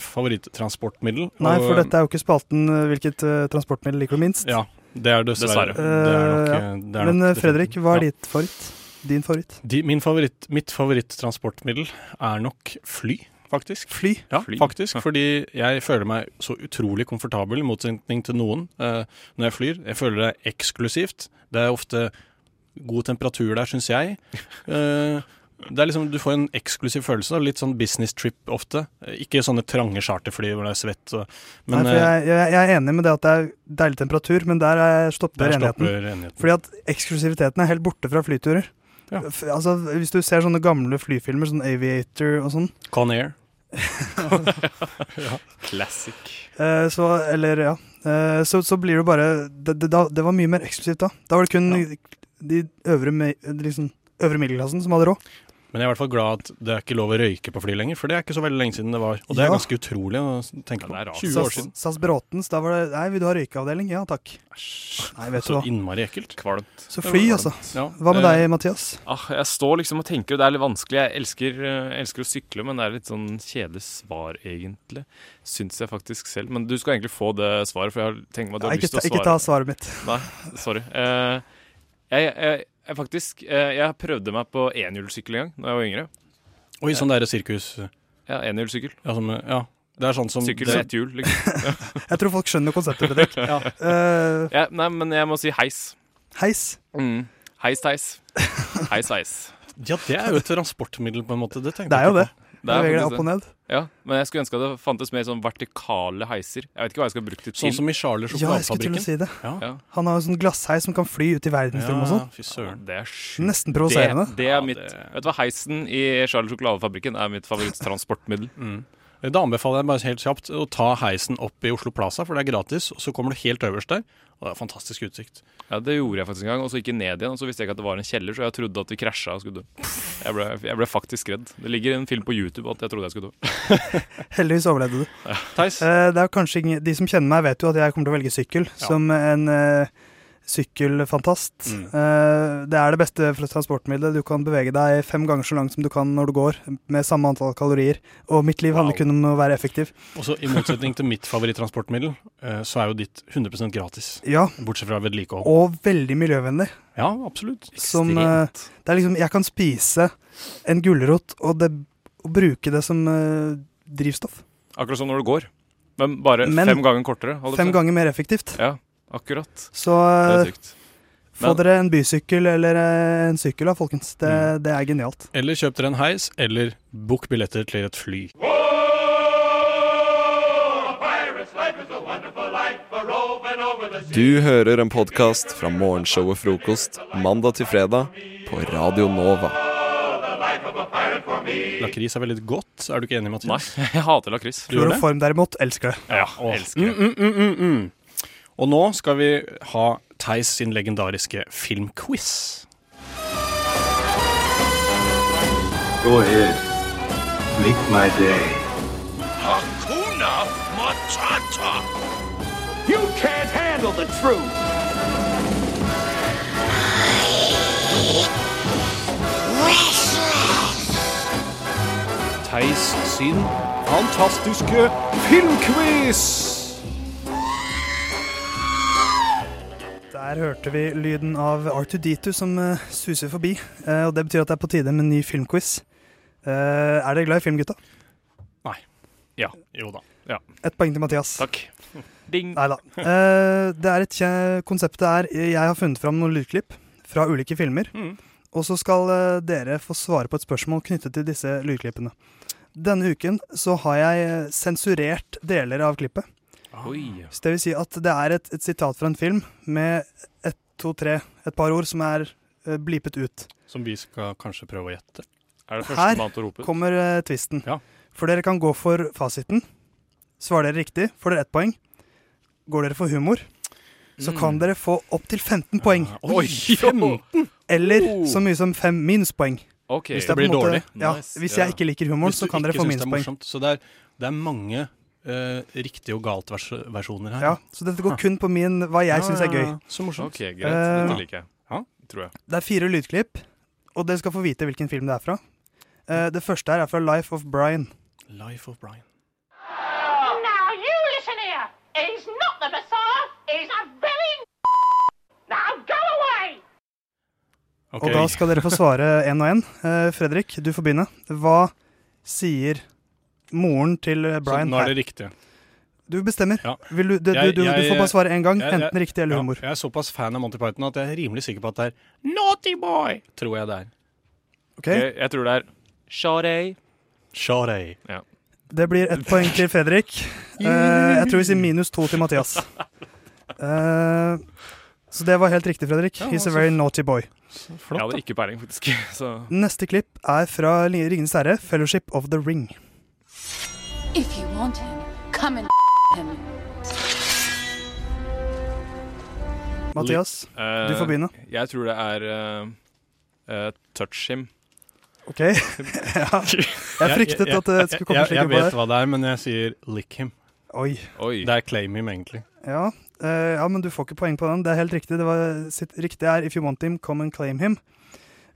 Speaker 4: favorittransportmiddel.
Speaker 6: Nei, for
Speaker 4: og-
Speaker 6: dette er jo ikke spalten eh, hvilket eh, transportmiddel liker du minst.
Speaker 4: Ja, det er dessverre.
Speaker 5: Dessverre.
Speaker 4: Det er nok,
Speaker 6: Eh,
Speaker 4: eh, det er
Speaker 6: Men
Speaker 4: nok
Speaker 6: eh, Fredrik, hva
Speaker 4: Ja.
Speaker 6: er ditt favoritt? Din favoritt?
Speaker 4: De, min favoritt, mitt favorittransportmiddel er nok fly, faktisk.
Speaker 6: Fly.
Speaker 4: Ja,
Speaker 5: Fly.
Speaker 4: faktisk. Fordi jeg føler meg så utrolig komfortabel, i motsetning til noen, eh, når jeg flyr. Jeg føler det er eksklusivt. Det er ofte god temperatur der, syns jeg. Eh, det er liksom, Du får en eksklusiv følelse. da. Litt sånn business trip ofte. Eh, Ikke sånne trange charterfly hvor det er svett. Og, men
Speaker 6: Nei, for jeg, jeg, jeg er enig med det at det er deilig temperatur, men der er-
Speaker 4: eh,
Speaker 6: stopper
Speaker 4: der
Speaker 6: enigheten.
Speaker 4: stopper enigheten.
Speaker 6: Fordi at eksklusiviteten er helt borte fra flyturer.
Speaker 4: Ja.
Speaker 6: F- Altså, hvis du ser sånne gamle flyfilmer, sånn Aviator og sånn,
Speaker 4: Conair.
Speaker 5: Classic.
Speaker 6: eh, så, eller, ja, eh, så, så blir det bare det, det, da- det var mye mer eksklusivt da. Da var det kun de øvre, me- liksom, øvre middelklassen som hadde råd.
Speaker 4: Men jeg er i hvert fall glad at det er ikke lov å røyke på fly lenger, for det er ikke så veldig lenge siden det var. Og det er
Speaker 6: Ja.
Speaker 4: ganske utrolig å tenke
Speaker 5: Ja, det er
Speaker 4: på.
Speaker 5: rart.
Speaker 4: 20 år
Speaker 6: SAS,
Speaker 4: siden.
Speaker 6: SAS Bråtens, da var det Nei, vil du ha røykeavdeling? Ja takk. Nei, vet
Speaker 5: Altså,
Speaker 6: du
Speaker 4: Så
Speaker 6: hva.
Speaker 4: innmari ekkelt.
Speaker 5: Kvalmt.
Speaker 6: Så fly, altså.
Speaker 4: Ja.
Speaker 6: Hva med
Speaker 4: Eh,
Speaker 6: deg, Mathias?
Speaker 5: Ah, jeg står liksom og tenker, og det er litt vanskelig. Jeg elsker, eh, elsker å sykle, men det er litt sånn kjedelig svar, egentlig. Syns jeg faktisk selv. Men du skal egentlig få det svaret, for jeg har tenkt meg at du
Speaker 6: Nei,
Speaker 5: har lyst
Speaker 6: ikke, ta,
Speaker 5: til å svare.
Speaker 6: ikke ta svaret mitt.
Speaker 5: Sorry. Eh, jeg, jeg, jeg faktisk eh, Jeg prøvde meg på enhjulssykkel en gang da jeg var yngre.
Speaker 4: Oi, sånn derre sirkus ja,
Speaker 5: Ja, enhjulssykkel.
Speaker 4: som, ja. Det er sånn som
Speaker 5: Sykkel
Speaker 4: det,
Speaker 5: med ett hjul, liksom.
Speaker 6: Jeg tror folk skjønner konseptet. Fredrik. Eh,
Speaker 5: Ja, nei, men jeg må si heis.
Speaker 6: heis.
Speaker 5: Mm. Heis, heis. Heis, heis.
Speaker 4: Ja, det er jo et transportmiddel, på en måte. Det, tenkte
Speaker 6: Det er
Speaker 4: jeg
Speaker 6: jo det.
Speaker 4: ikke
Speaker 5: Det
Speaker 6: Det
Speaker 5: er
Speaker 6: beveger deg
Speaker 5: faktisk
Speaker 6: opp og ned.
Speaker 5: Ja, men jeg skulle ønske at det fantes mer sånn vertikale heiser. Jeg vet ikke hva jeg skal bruke det
Speaker 4: på.
Speaker 5: til.
Speaker 4: Sånn som i Charlie
Speaker 6: Ja, jeg skulle til å
Speaker 4: sjokoladefabrikken.
Speaker 6: si det.
Speaker 5: Ja.
Speaker 6: Han har jo sånn glassheis som kan fly ut i verdensrommet og sånn.
Speaker 4: fy
Speaker 5: Ja,
Speaker 4: søren.
Speaker 5: det er sjukt.
Speaker 6: Nesten provoserende.
Speaker 5: Det, det
Speaker 4: Ja,
Speaker 5: er mitt
Speaker 4: det-
Speaker 5: Vet du hva, heisen i Charlie Sjokoladefabrikken er mitt favorittransportmiddel.
Speaker 4: Da anbefaler jeg bare helt kjapt å ta heisen opp i Oslo Plaza, for det er gratis. Og så kommer du helt øverst der, og det er fantastisk utsikt.
Speaker 5: Ja, Det gjorde jeg faktisk en gang, og så gikk jeg ned igjen. Og så visste jeg ikke at det var en kjeller, så jeg trodde at vi krasja og skulle dø. Jeg ble, jeg ble faktisk redd. Det ligger en film på YouTube at jeg trodde jeg skulle dø.
Speaker 6: Heldigvis overlevde du.
Speaker 4: Theis,
Speaker 6: Eh, det er jo kanskje ingen, De som kjenner meg, vet jo at jeg kommer til å velge sykkel
Speaker 4: Ja.
Speaker 6: som en eh, sykkelfantast.
Speaker 4: Mm.
Speaker 6: Eh, det er det beste fra transportmiddelet. Du kan bevege deg fem ganger så langt som du kan når du går, med samme antall kalorier. Og mitt liv handler
Speaker 4: Wow.
Speaker 6: kun om å være effektiv.
Speaker 4: også i motsetning til mitt favorittransportmiddel, eh, så er jo ditt 100 gratis.
Speaker 6: Ja,
Speaker 4: Bortsett fra vedlikehold.
Speaker 6: og veldig miljøvennlig.
Speaker 4: Ja, absolutt.
Speaker 6: Som, eh, det er liksom, jeg kan spise en gulrot og, det, og bruke det som eh, drivstoff.
Speaker 5: Akkurat som når du går. Men bare
Speaker 6: Men-
Speaker 5: fem ganger kortere. holdt jeg
Speaker 6: Fem
Speaker 5: på å si.
Speaker 6: ganger mer effektivt.
Speaker 5: Akkurat.
Speaker 6: Så
Speaker 5: Det
Speaker 6: eh,
Speaker 5: er sykt.
Speaker 6: Få
Speaker 5: Men-
Speaker 6: dere en bysykkel eller eh, en sykkel, da, folkens. Det,
Speaker 4: Mm.
Speaker 6: det er genialt.
Speaker 4: Eller kjøp dere en heis, eller bok billetter til et fly.
Speaker 7: Du hører en podkast fra morgenshowet Frokost mandag til fredag på Radio Nova.
Speaker 4: Lakris er veldig godt, er du ikke enig,
Speaker 5: Nei,
Speaker 4: Mathias?
Speaker 5: jeg hater lakris.
Speaker 4: Du gjør det?
Speaker 6: Kloroform derimot, elsker det.
Speaker 5: Ja, jeg elsker det.
Speaker 4: Mm, mm, mm, mm, mm. Og nå skal vi ha Theis sin legendariske filmquiz.
Speaker 10: Go ahead. Make my day.
Speaker 4: Theis sin fantastiske filmquiz!
Speaker 6: Der hørte vi lyden av R2D2 som eh, suser forbi. Eh, og Det betyr at det er på tide med en ny filmquiz. Eh, er dere glad i film, gutta?
Speaker 5: Ja, jo da.
Speaker 6: Ett poeng til Mathias.
Speaker 5: Takk. Ding.
Speaker 6: Neida. Eh, det er et kje- Konseptet er Jeg har funnet fram noen lydklipp fra ulike filmer.
Speaker 4: Mm.
Speaker 6: Og så skal eh, dere få svare på et spørsmål knyttet til disse lydklippene. Denne uken så har jeg eh, sensurert deler av klippet.
Speaker 4: Ah.
Speaker 5: Oi.
Speaker 6: Så det vil si at det er et, et sitat fra en film med ett, to, tre, et par ord som er eh, blipet ut.
Speaker 4: Som vi skal kanskje prøve å gjette.
Speaker 5: Er det
Speaker 6: Her
Speaker 5: første mann til å rope? ut?
Speaker 6: Kommer eh, tvisten.
Speaker 4: Ja.
Speaker 6: For dere kan gå for fasiten. Svarer dere riktig, får dere ett poeng. Går dere for humor, så
Speaker 4: Mm.
Speaker 6: kan dere få opptil 15 poeng.
Speaker 4: Ah, Oi! fem.
Speaker 6: Eller
Speaker 5: Oh.
Speaker 6: så mye som fem minuspoeng.
Speaker 5: OK.
Speaker 6: Hvis
Speaker 4: Det
Speaker 6: på en
Speaker 4: blir
Speaker 6: måte-
Speaker 5: dårlig.
Speaker 6: Ja,
Speaker 5: Nice,
Speaker 6: hvis
Speaker 5: ja.
Speaker 6: jeg ikke liker humoren,
Speaker 4: Hvis du
Speaker 6: så kan dere
Speaker 4: ikke
Speaker 6: få
Speaker 4: syns det er
Speaker 6: minuspoeng.
Speaker 4: morsomt. Så det er, det er mange eh, riktig og galt vers versjoner her.
Speaker 6: Ja, så dette går kun på min, hva jeg syns er gøy.
Speaker 4: Ah, Så morsomt.
Speaker 5: OK, greit. Dette liker jeg.
Speaker 4: Eh, Ja.
Speaker 5: Tror jeg.
Speaker 6: Det er fire lydklipp, og dere skal få vite hvilken film det er fra. Eh, Det første her er fra Life of Brian.
Speaker 4: Life of Brian.
Speaker 11: Now you listen here. He's not the Messiah. He's a villain. Now go away.
Speaker 6: Og da skal dere få svare én og én. Eh, Fredrik, du får begynne. Hva sier moren til Brian
Speaker 4: så nå er
Speaker 6: her?
Speaker 4: det riktige.
Speaker 6: Du bestemmer.
Speaker 4: Ja.
Speaker 6: Vil du, du, du,
Speaker 4: Jeg-
Speaker 6: du, du
Speaker 4: jeg-
Speaker 6: får bare svare én gang,
Speaker 4: jeg- jeg-
Speaker 6: enten riktig eller
Speaker 4: Ja,
Speaker 6: humor.
Speaker 4: jeg er såpass fan av Monty Python at jeg er rimelig sikker på at det er Naughty Boy! Tror jeg det er.
Speaker 6: Ok?
Speaker 5: Jeg, jeg tror det er Sharey.
Speaker 4: Sharey.
Speaker 6: Det blir ett poeng til Fredrik. Eh, jeg tror vi sier minus to til Mathias. Eh, så det var helt riktig, Fredrik.
Speaker 4: Ja,
Speaker 6: He's a
Speaker 4: altså.
Speaker 6: very naughty boy.
Speaker 5: Jeg
Speaker 4: Flott,
Speaker 5: hadde
Speaker 4: da.
Speaker 5: ikke peiling, faktisk. Så
Speaker 6: Neste klipp er fra Li- Ringenes herre, 'Fellowship of the Ring'.
Speaker 11: If you want him, come and him.
Speaker 6: Mathias,
Speaker 5: eh,
Speaker 6: du får begynne.
Speaker 5: Jeg tror det er eh, eh, Touch Him.
Speaker 6: OK? ja. Jeg fryktet at det skulle komme
Speaker 4: jeg,
Speaker 6: slik
Speaker 4: jeg
Speaker 6: på
Speaker 4: vet
Speaker 6: deg.
Speaker 4: hva det er, men jeg sier lick him.
Speaker 6: Oi.
Speaker 5: Oi.
Speaker 4: Det er claim him, egentlig.
Speaker 6: Ja. eh, ja, men du får ikke poeng på den. Det er helt riktig. Det var, sitt, riktig er 'If you want him, come and claim him'.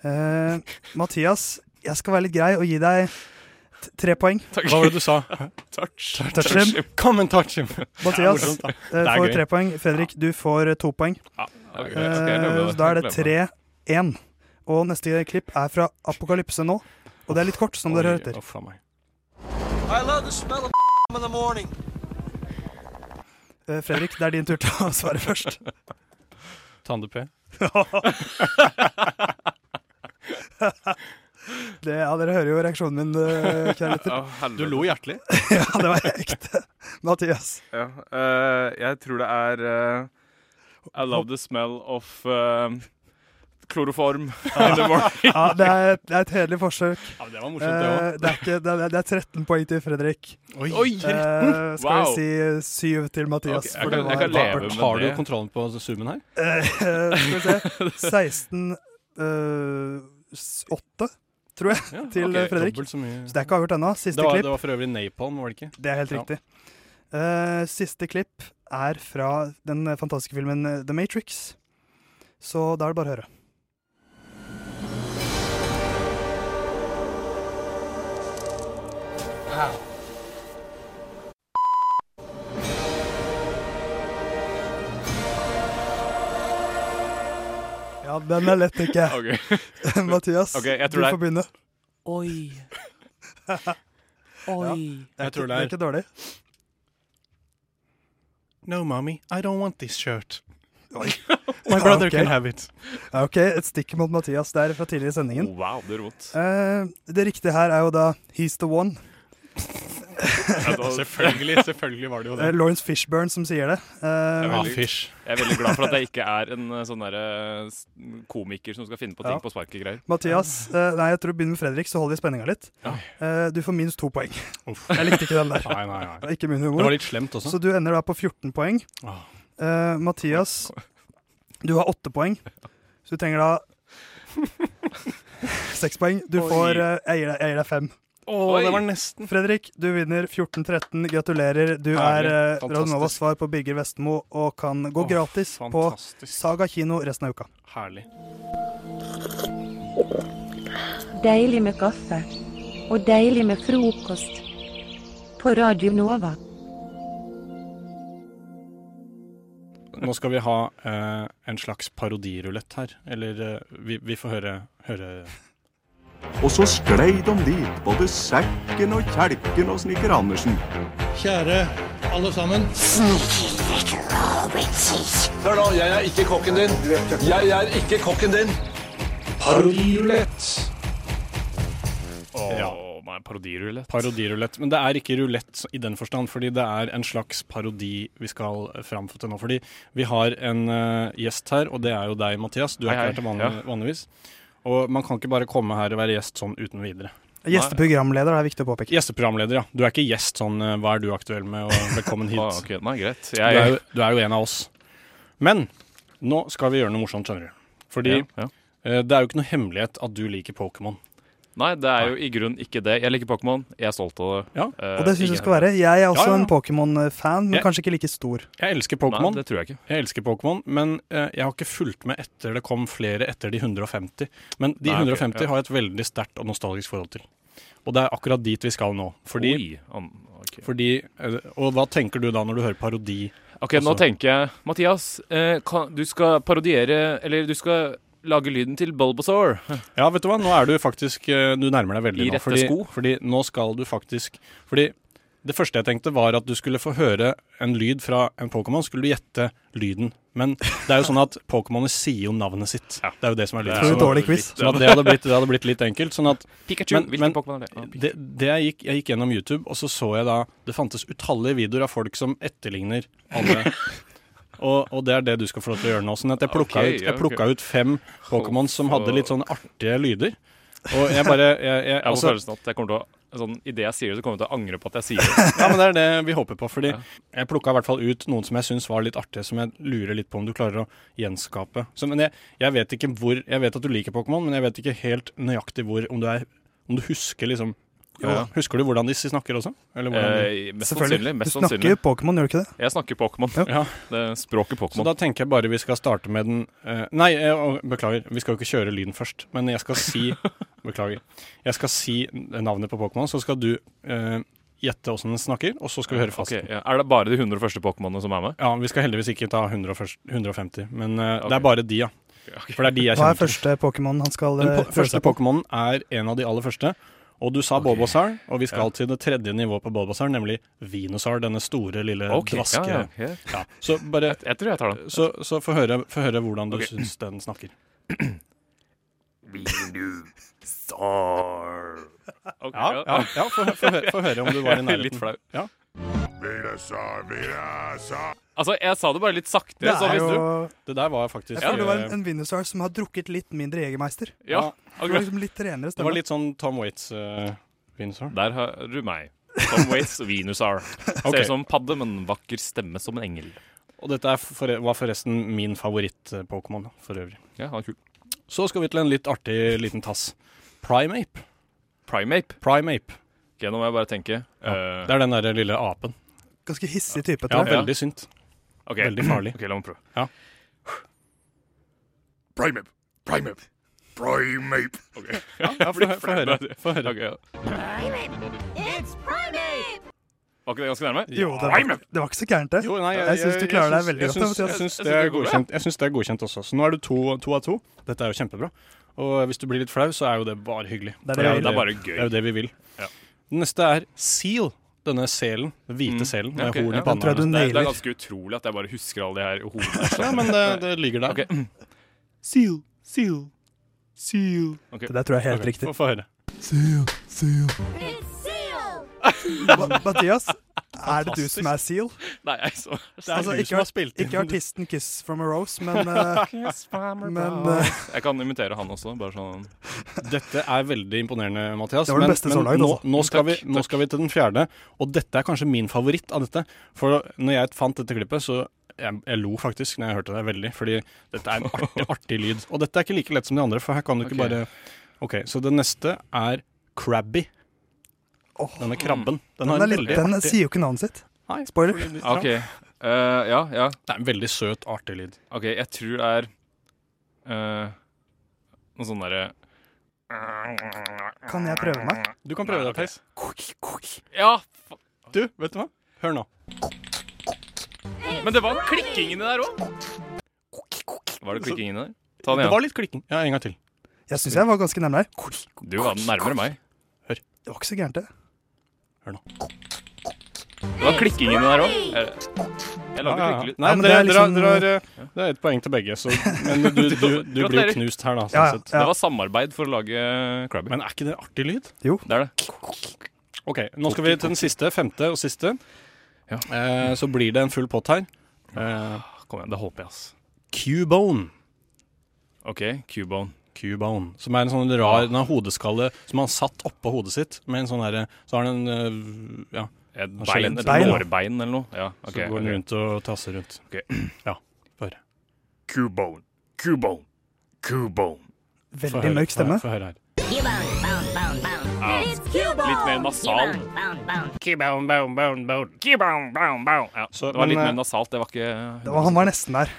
Speaker 6: Eh, Mathias, jeg skal være litt grei og gi deg t tre poeng.
Speaker 5: Takk.
Speaker 4: Hva var det du sa?
Speaker 5: Touch.
Speaker 6: Touch him.
Speaker 4: Come and touch him!
Speaker 6: Mathias
Speaker 4: morsomt, da.
Speaker 6: eh,
Speaker 4: Det er
Speaker 6: får
Speaker 4: gøy.
Speaker 6: tre poeng. Fredrik, du får eh, to poeng.
Speaker 5: Ja, ok,
Speaker 6: Eh,
Speaker 5: ok, jeg glemmer
Speaker 6: så da er det
Speaker 5: Jeg glemmer
Speaker 6: tre-én. Og neste klipp er fra Apokalypse nå. Og det er litt kort, som dere
Speaker 4: Oi,
Speaker 6: hørter.
Speaker 4: å, faen meg.
Speaker 6: Eh, Fredrik, det er din tur til å svare først.
Speaker 4: Tande-P.
Speaker 6: Det, ja, dere hører jo reaksjonen min, eh, kjære lytter.
Speaker 5: Å, helvete.
Speaker 4: Du lo hjertelig.
Speaker 6: Ja, det var ekte. Mathias.
Speaker 5: Ja, eh, jeg tror det er eh, I love the smell of eh, kloroform in the morning.
Speaker 6: Ja, det er, det er et hederlig forsøk.
Speaker 4: Ja, men det var morsomt, det
Speaker 6: Eh, det, er ikke, det, er, det er 13 poeng til Fredrik.
Speaker 4: òg.
Speaker 5: Oi!
Speaker 6: Eh, skal
Speaker 5: Wow.
Speaker 6: vi si 7 til Mathias?
Speaker 5: Ok, jeg
Speaker 6: for
Speaker 5: kan-
Speaker 6: det
Speaker 5: jeg
Speaker 6: var
Speaker 5: kan leve
Speaker 6: pappert.
Speaker 5: med
Speaker 4: Har du
Speaker 5: det.
Speaker 4: kontrollen på zoomen her?
Speaker 6: Eh, skal vi se. eh, 16 8, tror jeg,
Speaker 4: Ja,
Speaker 6: til eh,
Speaker 5: ok,
Speaker 6: Fredrik.
Speaker 4: Dobbelt så mye.
Speaker 6: Så det er ikke avgjort ennå. Siste
Speaker 4: Det var, det
Speaker 6: klipp.
Speaker 4: var for øvrig napalm, var det ikke?
Speaker 6: Det er helt
Speaker 4: Ja.
Speaker 6: riktig. Eh, siste klipp er fra den fantastiske filmen eh, The Matrix. Så da er det bare å høre. Ja, den er lett, tenker jeg.
Speaker 5: Ok,
Speaker 6: Mathias,
Speaker 5: Ok, jeg
Speaker 6: du
Speaker 5: tror det er-
Speaker 6: får begynne.
Speaker 9: Oi. Oi.
Speaker 6: Det er,
Speaker 4: Jeg tror det
Speaker 6: ikke, det
Speaker 4: er-
Speaker 6: er ikke dårlig.
Speaker 4: No, mommy, I don't want this shirt.
Speaker 6: Oi.
Speaker 4: My brother
Speaker 6: Ok.
Speaker 4: can have it.
Speaker 6: Ja, ok, et stikk mot Mathias der fra tidligere i sendingen.
Speaker 5: Wow, det er rått.
Speaker 6: Eh, det riktige her er jo da He's the One.
Speaker 4: Ja, da- selvfølgelig, selvfølgelig var det jo
Speaker 6: Eh,
Speaker 4: det.
Speaker 6: Lawrence Fishburne som sier det. Eh,
Speaker 5: Jeg er veldig-
Speaker 4: Ah, fish.
Speaker 5: Jeg er veldig glad for at jeg ikke er en eh, sånn derre s- komiker som skal finne på ting
Speaker 6: Ja.
Speaker 5: på sparket-greier.
Speaker 6: Mathias, eh, nei, jeg tror vi begynner med Fredrik, så holder vi spenninga litt. Eh, du får minus to poeng.
Speaker 4: Uff.
Speaker 6: Jeg likte ikke den der.
Speaker 4: Nei, nei, nei.
Speaker 6: Det var Ikke min humor.
Speaker 4: Det var litt slemt også.
Speaker 6: Så du ender da på 14 poeng.
Speaker 4: Ah.
Speaker 6: Eh, Mathias, du har 8 poeng, så du trenger da 6 poeng. Du
Speaker 4: Oi.
Speaker 6: får eh, Jeg gir deg- jeg gir deg 5.
Speaker 4: Å, det var nesten.
Speaker 6: Fredrik, du vinner 14-13. Gratulerer. Du
Speaker 4: Herlig.
Speaker 6: er eh,
Speaker 4: Fantastisk.
Speaker 6: Radionovas svar på Birger Vestmo og kan gå
Speaker 4: Åh,
Speaker 6: gratis på Saga kino resten av uka.
Speaker 4: Herlig.
Speaker 12: Deilig med kaffe. Og deilig med frokost. På Radio Nova.
Speaker 4: Nå skal vi ha eh, en slags parodirulett her. Eller eh, vi, vi får høre, høre
Speaker 10: Og så sklei de dit, både sekken og kjelken og snekker Andersen.
Speaker 13: Kjære alle sammen.
Speaker 14: Hør nå, jeg er ikke kokken din. Jeg er ikke kokken din. Parodyrulett.
Speaker 5: Åh,
Speaker 4: Ja.
Speaker 5: nei, Parodirulett.
Speaker 4: Parodirulett. Men det er ikke rulett i den forstand, fordi det er en slags parodi vi skal fram til nå. Fordi vi har en eh, gjest her, og det er jo deg, Mathias. Du har
Speaker 5: Hei,
Speaker 4: ikke vært
Speaker 5: hei.
Speaker 4: her vanlig,
Speaker 5: Ja.
Speaker 4: vanligvis. Og man kan ikke bare komme her og være gjest sånn uten videre.
Speaker 6: Gjesteprogramleder det er viktig å påpeke.
Speaker 4: Gjesteprogramleder, ja. Du er ikke gjest sånn eh, 'hva er du aktuell med', og 'velkommen hit'.
Speaker 5: Ah, ok. Nei, greit.
Speaker 4: Du,
Speaker 5: Jeg-
Speaker 4: er jo, du er jo en av oss. Men nå skal vi gjøre noe morsomt, skjønner du. Fordi
Speaker 5: Ja, ja.
Speaker 4: eh, det er jo ikke noe hemmelighet at du liker Pokémon.
Speaker 5: Nei, det er jo i grunnen ikke det. Jeg liker Pokémon. Jeg er stolt av det. Eh,
Speaker 6: Og det syns
Speaker 5: ingen
Speaker 6: jeg skal være. Jeg er
Speaker 4: Ja,
Speaker 6: også
Speaker 4: ja.
Speaker 6: en Pokémon-fan, men
Speaker 4: Jeg-
Speaker 6: kanskje ikke like stor.
Speaker 4: Jeg elsker Pokémon.
Speaker 5: Nei, det tror jeg ikke.
Speaker 4: Jeg elsker Pokémon, men eh, jeg har ikke fulgt med etter det kom flere etter de 150. Men de
Speaker 5: Nei, ok,
Speaker 4: 150
Speaker 5: ja.
Speaker 4: har jeg et veldig sterkt og nostalgisk forhold til. Og det er akkurat dit vi skal nå. Fordi,
Speaker 5: Oi, an- ok.
Speaker 4: fordi eh, Og hva tenker du da når du hører parodi?
Speaker 5: Ok, nå tenker jeg Mathias, eh, kan, du skal parodiere Eller du skal lage lyden til Bulbasaur.
Speaker 4: Ja, vet du hva, nå er du faktisk eh, Du nærmer deg veldig
Speaker 5: I rette
Speaker 4: nå. Fordi,
Speaker 5: sko?
Speaker 4: fordi nå skal du faktisk Fordi det første jeg tenkte, var at du skulle få høre en lyd fra en Pokémon. Skulle du gjette lyden. Men det er jo sånn at Pokémoner sier jo navnet sitt. Det er jo det som er
Speaker 5: Det
Speaker 4: lyden.
Speaker 5: er jo
Speaker 4: Så-
Speaker 5: dårlig quiz.
Speaker 4: Sånn at det hadde blitt, det hadde blitt litt enkelt. Sånn at
Speaker 5: Pikachu, hvilken Pokémon er det? Ah, Pikachu.
Speaker 4: det, det jeg, gikk, jeg gikk gjennom YouTube, og så så jeg da Det fantes utallige videoer av folk som etterligner alle. Og, og det er det du skal få lov til å gjøre nå. Sånn at jeg plukka,
Speaker 5: Ok,
Speaker 4: ut,
Speaker 5: ja,
Speaker 4: jeg
Speaker 5: ok.
Speaker 4: plukka ut fem Pokémon som hadde litt sånn artige lyder. Og jeg bare jeg, jeg,
Speaker 5: Jeg må
Speaker 4: altså-
Speaker 5: følelsen at jeg kommer til å Sånn, I det jeg sier det, så kommer jeg til å angre på at jeg sier det.
Speaker 4: ja, men Det er det vi håper på. Fordi Jeg plukka i hvert fall ut noen som jeg syns var litt artige, som jeg lurer litt på om du klarer å gjenskape. Så, men jeg, jeg vet ikke hvor Jeg vet at du liker Pokémon, men jeg vet ikke helt nøyaktig hvor Om du, er, om du husker liksom
Speaker 5: Jo da.
Speaker 4: Husker du hvordan de snakker også? Eller hvordan de-
Speaker 5: Eh, mest sannsynlig. Mest
Speaker 6: Du snakker jo
Speaker 5: sannsynlig.
Speaker 6: Pokémon, gjør du ikke det?
Speaker 5: Jeg snakker Pokémon.
Speaker 4: Ja.
Speaker 5: Det er språket
Speaker 4: Så
Speaker 5: Pokémon.
Speaker 4: da tenker jeg bare vi skal starte med den eh, Nei, eh, å, beklager. Vi skal jo ikke kjøre lyden først. Men jeg skal si Beklager. Jeg skal si navnet på Pokémon, så skal du eh, gjette åssen den snakker, og så skal vi høre
Speaker 5: Ok,
Speaker 4: fasiten.
Speaker 5: ja. Er det bare de 100 første Pokémonene som er med?
Speaker 4: Ja, vi skal heldigvis ikke ta 100, 150, men eh, det er bare de, ja. For det er de jeg
Speaker 6: Hva er
Speaker 4: kjenner til.
Speaker 6: første Pokémon han skal
Speaker 4: Den
Speaker 6: eh,
Speaker 4: po
Speaker 6: prøve
Speaker 4: første
Speaker 6: seg på?
Speaker 4: Pokémonen er en av de aller første. Og du sa Bulbasaur, og vi skal til det tredje nivået på Bulbasaur, nemlig Venusaur, denne store, lille
Speaker 5: Ok, ja,
Speaker 4: dvaske...
Speaker 5: ja, ok.
Speaker 4: Så bare jeg,
Speaker 5: tror jeg tar den.
Speaker 4: Så, så få høre, få høre hvordan du
Speaker 5: Ok.
Speaker 4: syns den snakker.
Speaker 5: Venusaur. Ok,
Speaker 4: Ja, ja, ja få, få, høre, få høre om du var i
Speaker 5: Jeg er
Speaker 4: nærheten.
Speaker 5: Litt flau.
Speaker 4: Ja.
Speaker 5: Altså, jeg sa det bare litt saktere,
Speaker 6: Det
Speaker 5: så
Speaker 6: er
Speaker 5: hvis du
Speaker 6: jo-
Speaker 4: Det der var faktisk
Speaker 6: Jeg føler det var en,
Speaker 4: eh,
Speaker 6: en Venusar som har drukket litt mindre Jegermeister.
Speaker 5: Ja,
Speaker 6: Det var liksom litt renere
Speaker 4: Det var
Speaker 6: stemme.
Speaker 4: litt sånn Tom Waits eh, Venusaur.
Speaker 5: Der har du meg. Tom Waits og Venusar.
Speaker 4: Ok.
Speaker 5: Ser ut som en padde, men vakker stemme som en engel.
Speaker 4: Og dette er for, var forresten min favoritt-Pokémon for øvrig.
Speaker 5: Ja, han er kul.
Speaker 4: Så skal vi til en litt artig liten tass. Primeape.
Speaker 5: Primeape?
Speaker 4: Primeape.
Speaker 5: Ok, nå må jeg bare tenke. Eh,
Speaker 4: Det er den derre lille apen.
Speaker 6: Ganske hissig type,
Speaker 4: Ja,
Speaker 6: tror jeg.
Speaker 4: veldig synt.
Speaker 5: Ok.
Speaker 4: Veldig farlig.
Speaker 5: Ok, la meg prøve.
Speaker 4: Ja.
Speaker 13: Primeape. Primeape. Primeape. Okay.
Speaker 4: Ja, ja, få, få høre. Få høre.
Speaker 5: Ok, ja.
Speaker 13: It's primate!
Speaker 5: Var ikke det ganske nærme?
Speaker 6: Jo, det var, det var ikke så gærent, det.
Speaker 4: Jo, nei,
Speaker 6: jeg syns du klarer deg
Speaker 4: syns-
Speaker 6: veldig
Speaker 4: jeg
Speaker 6: godt. da,
Speaker 4: syns- Jeg
Speaker 6: Mathias.
Speaker 4: syns det, er godkjent- jeg syns det er godkjent også. Så nå er du to, to av to. Dette er jo kjempebra. Og hvis du blir litt flau, så er jo det bare hyggelig.
Speaker 6: Det er det
Speaker 4: For
Speaker 6: vi vil.
Speaker 5: Det er bare gøy.
Speaker 4: Det er jo det vi vil.
Speaker 5: Ja.
Speaker 4: Den neste er Seal. Denne selen. Den hvite selen med
Speaker 5: Ok,
Speaker 4: horn i
Speaker 5: ja.
Speaker 4: panna.
Speaker 5: Det, er- det er ganske utrolig at jeg bare husker alle de her hodene.
Speaker 4: Ja, men det- det ligger der. Seal, seal, seal.
Speaker 6: Det der tror jeg er helt
Speaker 4: Ok,
Speaker 6: riktig.
Speaker 4: Få, få høre.
Speaker 6: Seal, seal. Ma- Mathias, er det du
Speaker 4: Fantastisk.
Speaker 6: som er Seal?
Speaker 5: Nei, jeg så
Speaker 4: Det er du som
Speaker 6: Altså, ikke,
Speaker 4: har spilt inn.
Speaker 6: ikke artisten Kiss from a Rose, men, eh, men eh,
Speaker 5: Jeg kan imitere han også. Bare sånn
Speaker 4: Dette er veldig imponerende, Mathias.
Speaker 6: Det var den beste så langt,
Speaker 4: nå,
Speaker 6: altså.
Speaker 4: nå, skal vi, nå skal vi til den fjerde, og dette er kanskje min favoritt av dette. For når jeg fant dette klippet, så jeg, jeg lo faktisk når jeg hørte det veldig, fordi dette er en artig, artig lyd. Og dette er ikke like lett som de andre, for her kan du ikke
Speaker 5: Ok.
Speaker 4: bare OK, så den neste er Krabby. Denne krabben. Den,
Speaker 6: den,
Speaker 4: har
Speaker 6: er
Speaker 4: en
Speaker 6: litt,
Speaker 4: veldig
Speaker 6: den
Speaker 4: artig-
Speaker 6: sier jo ikke navnet sitt. Spoiler.
Speaker 5: OK. Eh, ja, ja.
Speaker 4: Det er en veldig søt, artig lyd.
Speaker 5: OK, jeg tror det er eh, noe sånn derre
Speaker 6: Kan jeg prøve meg?
Speaker 4: Du kan prøve deg, Theis.
Speaker 5: Ja! fa-
Speaker 4: Du, vet du hva? Hør nå.
Speaker 5: Men det var klikking inni der òg. Var det klikking inni der? Ta den
Speaker 4: Det
Speaker 5: igjen.
Speaker 4: var litt klikking. Ja, en gang til.
Speaker 6: Jeg syns jeg var ganske nærme her.
Speaker 5: Du var nærmere meg.
Speaker 6: Det var ikke så gærent, det.
Speaker 5: Det var klikking inni der òg. Jeg lagde klikkelig
Speaker 4: Nei,
Speaker 6: Ja, men
Speaker 4: dere,
Speaker 6: det er liksom-
Speaker 4: dere, har, dere har, det er ett poeng til begge, så, men du, du, du, du blir
Speaker 5: Gratulerer.
Speaker 4: knust her, da. Sånn sett.
Speaker 5: Det var samarbeid for å lage Krabby.
Speaker 4: Men er ikke det artig lyd?
Speaker 6: Jo.
Speaker 5: Det er det.
Speaker 4: Ok, Nå skal vi til den siste, femte og siste. Eh, så blir det en full pott her. Eh,
Speaker 5: Kom igjen, det håper jeg, ass.
Speaker 4: Cubone.
Speaker 5: OK, Cubone.
Speaker 4: Cubone, som er en sånn rar den har hodeskalle som han satt oppå hodet sitt. Med en sånn derre Så har han en eh, ja,
Speaker 5: Et
Speaker 4: en
Speaker 5: bein,
Speaker 4: skjelett.
Speaker 5: et lårbein eller noe. Ja, ok,
Speaker 4: Så går
Speaker 5: ok.
Speaker 4: den rundt og tasser rundt. Ja, bare.
Speaker 5: Cubone, Cubone, Cubone.
Speaker 6: Veldig mørk stemme.
Speaker 4: Få høre her.
Speaker 5: Ja, litt mer nasal. Cubone, bone, bone, bone. Cubone, bone, bone. Ja,
Speaker 4: Så,
Speaker 5: det var litt
Speaker 4: men,
Speaker 5: mer
Speaker 4: eh,
Speaker 5: nasalt. Det var ikke
Speaker 6: Det var, han var nesten der.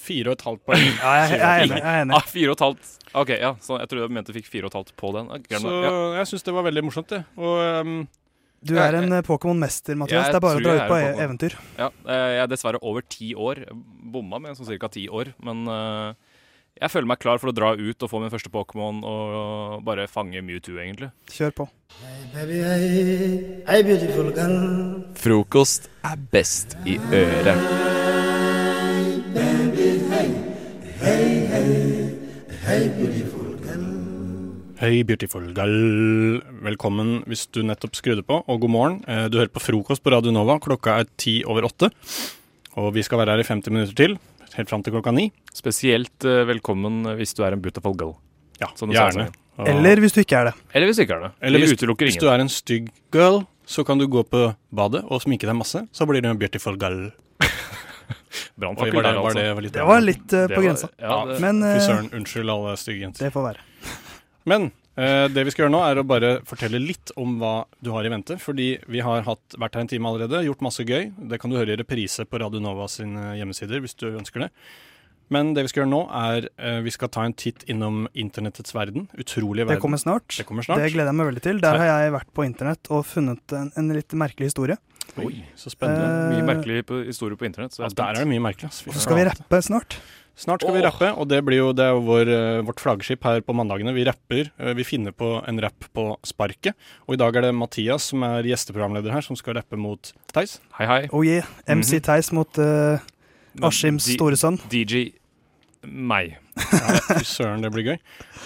Speaker 4: Fire og et halvt poeng.
Speaker 6: Ja, jeg, jeg er enig. Jeg er enig.
Speaker 5: Ah, fire og et halvt. OK, ja. Så jeg tror jeg mente fikk fire og et halvt på den. Ah, glem
Speaker 4: Så
Speaker 5: det. Ja.
Speaker 4: jeg syns det var veldig morsomt, det. Og ehm,
Speaker 6: Du er en eh, Pokémon-mester, Mathias.
Speaker 5: Jeg
Speaker 6: Det er bare å
Speaker 5: tror
Speaker 6: dra
Speaker 5: jeg
Speaker 6: ut
Speaker 5: er
Speaker 6: på
Speaker 5: en
Speaker 6: e-
Speaker 5: Pokémon.
Speaker 6: eventyr.
Speaker 5: Ja, eh, jeg er dessverre over ti år. Bomma med sånn cirka ti år. Men eh, jeg føler meg klar for å dra ut og få min første Pokémon og, og bare fange Mewtwo, egentlig.
Speaker 6: Kjør på.
Speaker 15: Baby, hey, hey, beautiful girl.
Speaker 7: Frokost er best i øret.
Speaker 4: Hei, beautiful girl. Velkommen hvis du nettopp skrudde på, og god morgen. Eh, Du hører på frokost på Radio Nova. Klokka er ti over åtte. Og vi skal være her i 50 minutter til, helt fram til klokka ni.
Speaker 5: Spesielt eh, velkommen hvis du er en beautiful girl.
Speaker 4: Ja,
Speaker 5: Som det sa i
Speaker 4: gjerne.
Speaker 5: sangen.
Speaker 6: Eller hvis du ikke er det.
Speaker 5: Eller hvis du ikke er det.
Speaker 4: Eller
Speaker 5: Vi
Speaker 4: hvis,
Speaker 5: utelukker
Speaker 4: hvis
Speaker 5: ingen.
Speaker 4: du er en stygg girl, så kan du gå på badet og sminke deg masse. Så blir du en beautiful girl. Oi,
Speaker 5: Brannfakkel
Speaker 4: var det-
Speaker 5: der,
Speaker 4: var
Speaker 5: altså.
Speaker 4: det litt-
Speaker 6: Det var litt eh,
Speaker 4: Det var-
Speaker 6: på grensa.
Speaker 4: ja, det-
Speaker 6: Men eh,
Speaker 4: Fy søren, unnskyld alle stygge jenter.
Speaker 6: det får være.
Speaker 4: Men eh, det vi skal gjøre nå, er å bare fortelle litt om hva du har i vente. Fordi vi har hatt, vært her en time allerede, gjort masse gøy. Det kan du høre i reprise på Radio Nova sine hjemmesider hvis du ønsker det. Men det vi skal gjøre nå, er eh, vi skal ta en titt innom internettets verden. Utrolige verden.
Speaker 6: Det kommer snart.
Speaker 4: Det kommer snart.
Speaker 6: Det gleder jeg meg veldig til. Der har jeg vært på internett og funnet en, en litt merkelig historie.
Speaker 4: Oi, så spennende.
Speaker 6: Eh,
Speaker 5: Mye merkelig på, historie på internett. Så jeg
Speaker 4: Ja, der er det mye merkelig. ass. Fy
Speaker 6: Og så
Speaker 4: faen.
Speaker 6: skal vi rappe snart.
Speaker 4: Snart skal vi rappe, og det, blir jo, det er jo vår, eh, vårt flaggskip her på mandagene. Vi rapper. eh, Vi finner på en rapp på sparket. Og i dag er det Mathias som er gjesteprogramleder her, som skal rappe mot Theis.
Speaker 5: Hei, hei.
Speaker 6: Oh yeah. MC
Speaker 5: Mhm.
Speaker 6: Theis mot eh,
Speaker 4: Men
Speaker 6: Ashims
Speaker 4: de-
Speaker 6: store sønn.
Speaker 5: DJ meg.
Speaker 4: Ja, fy søren, det blir gøy.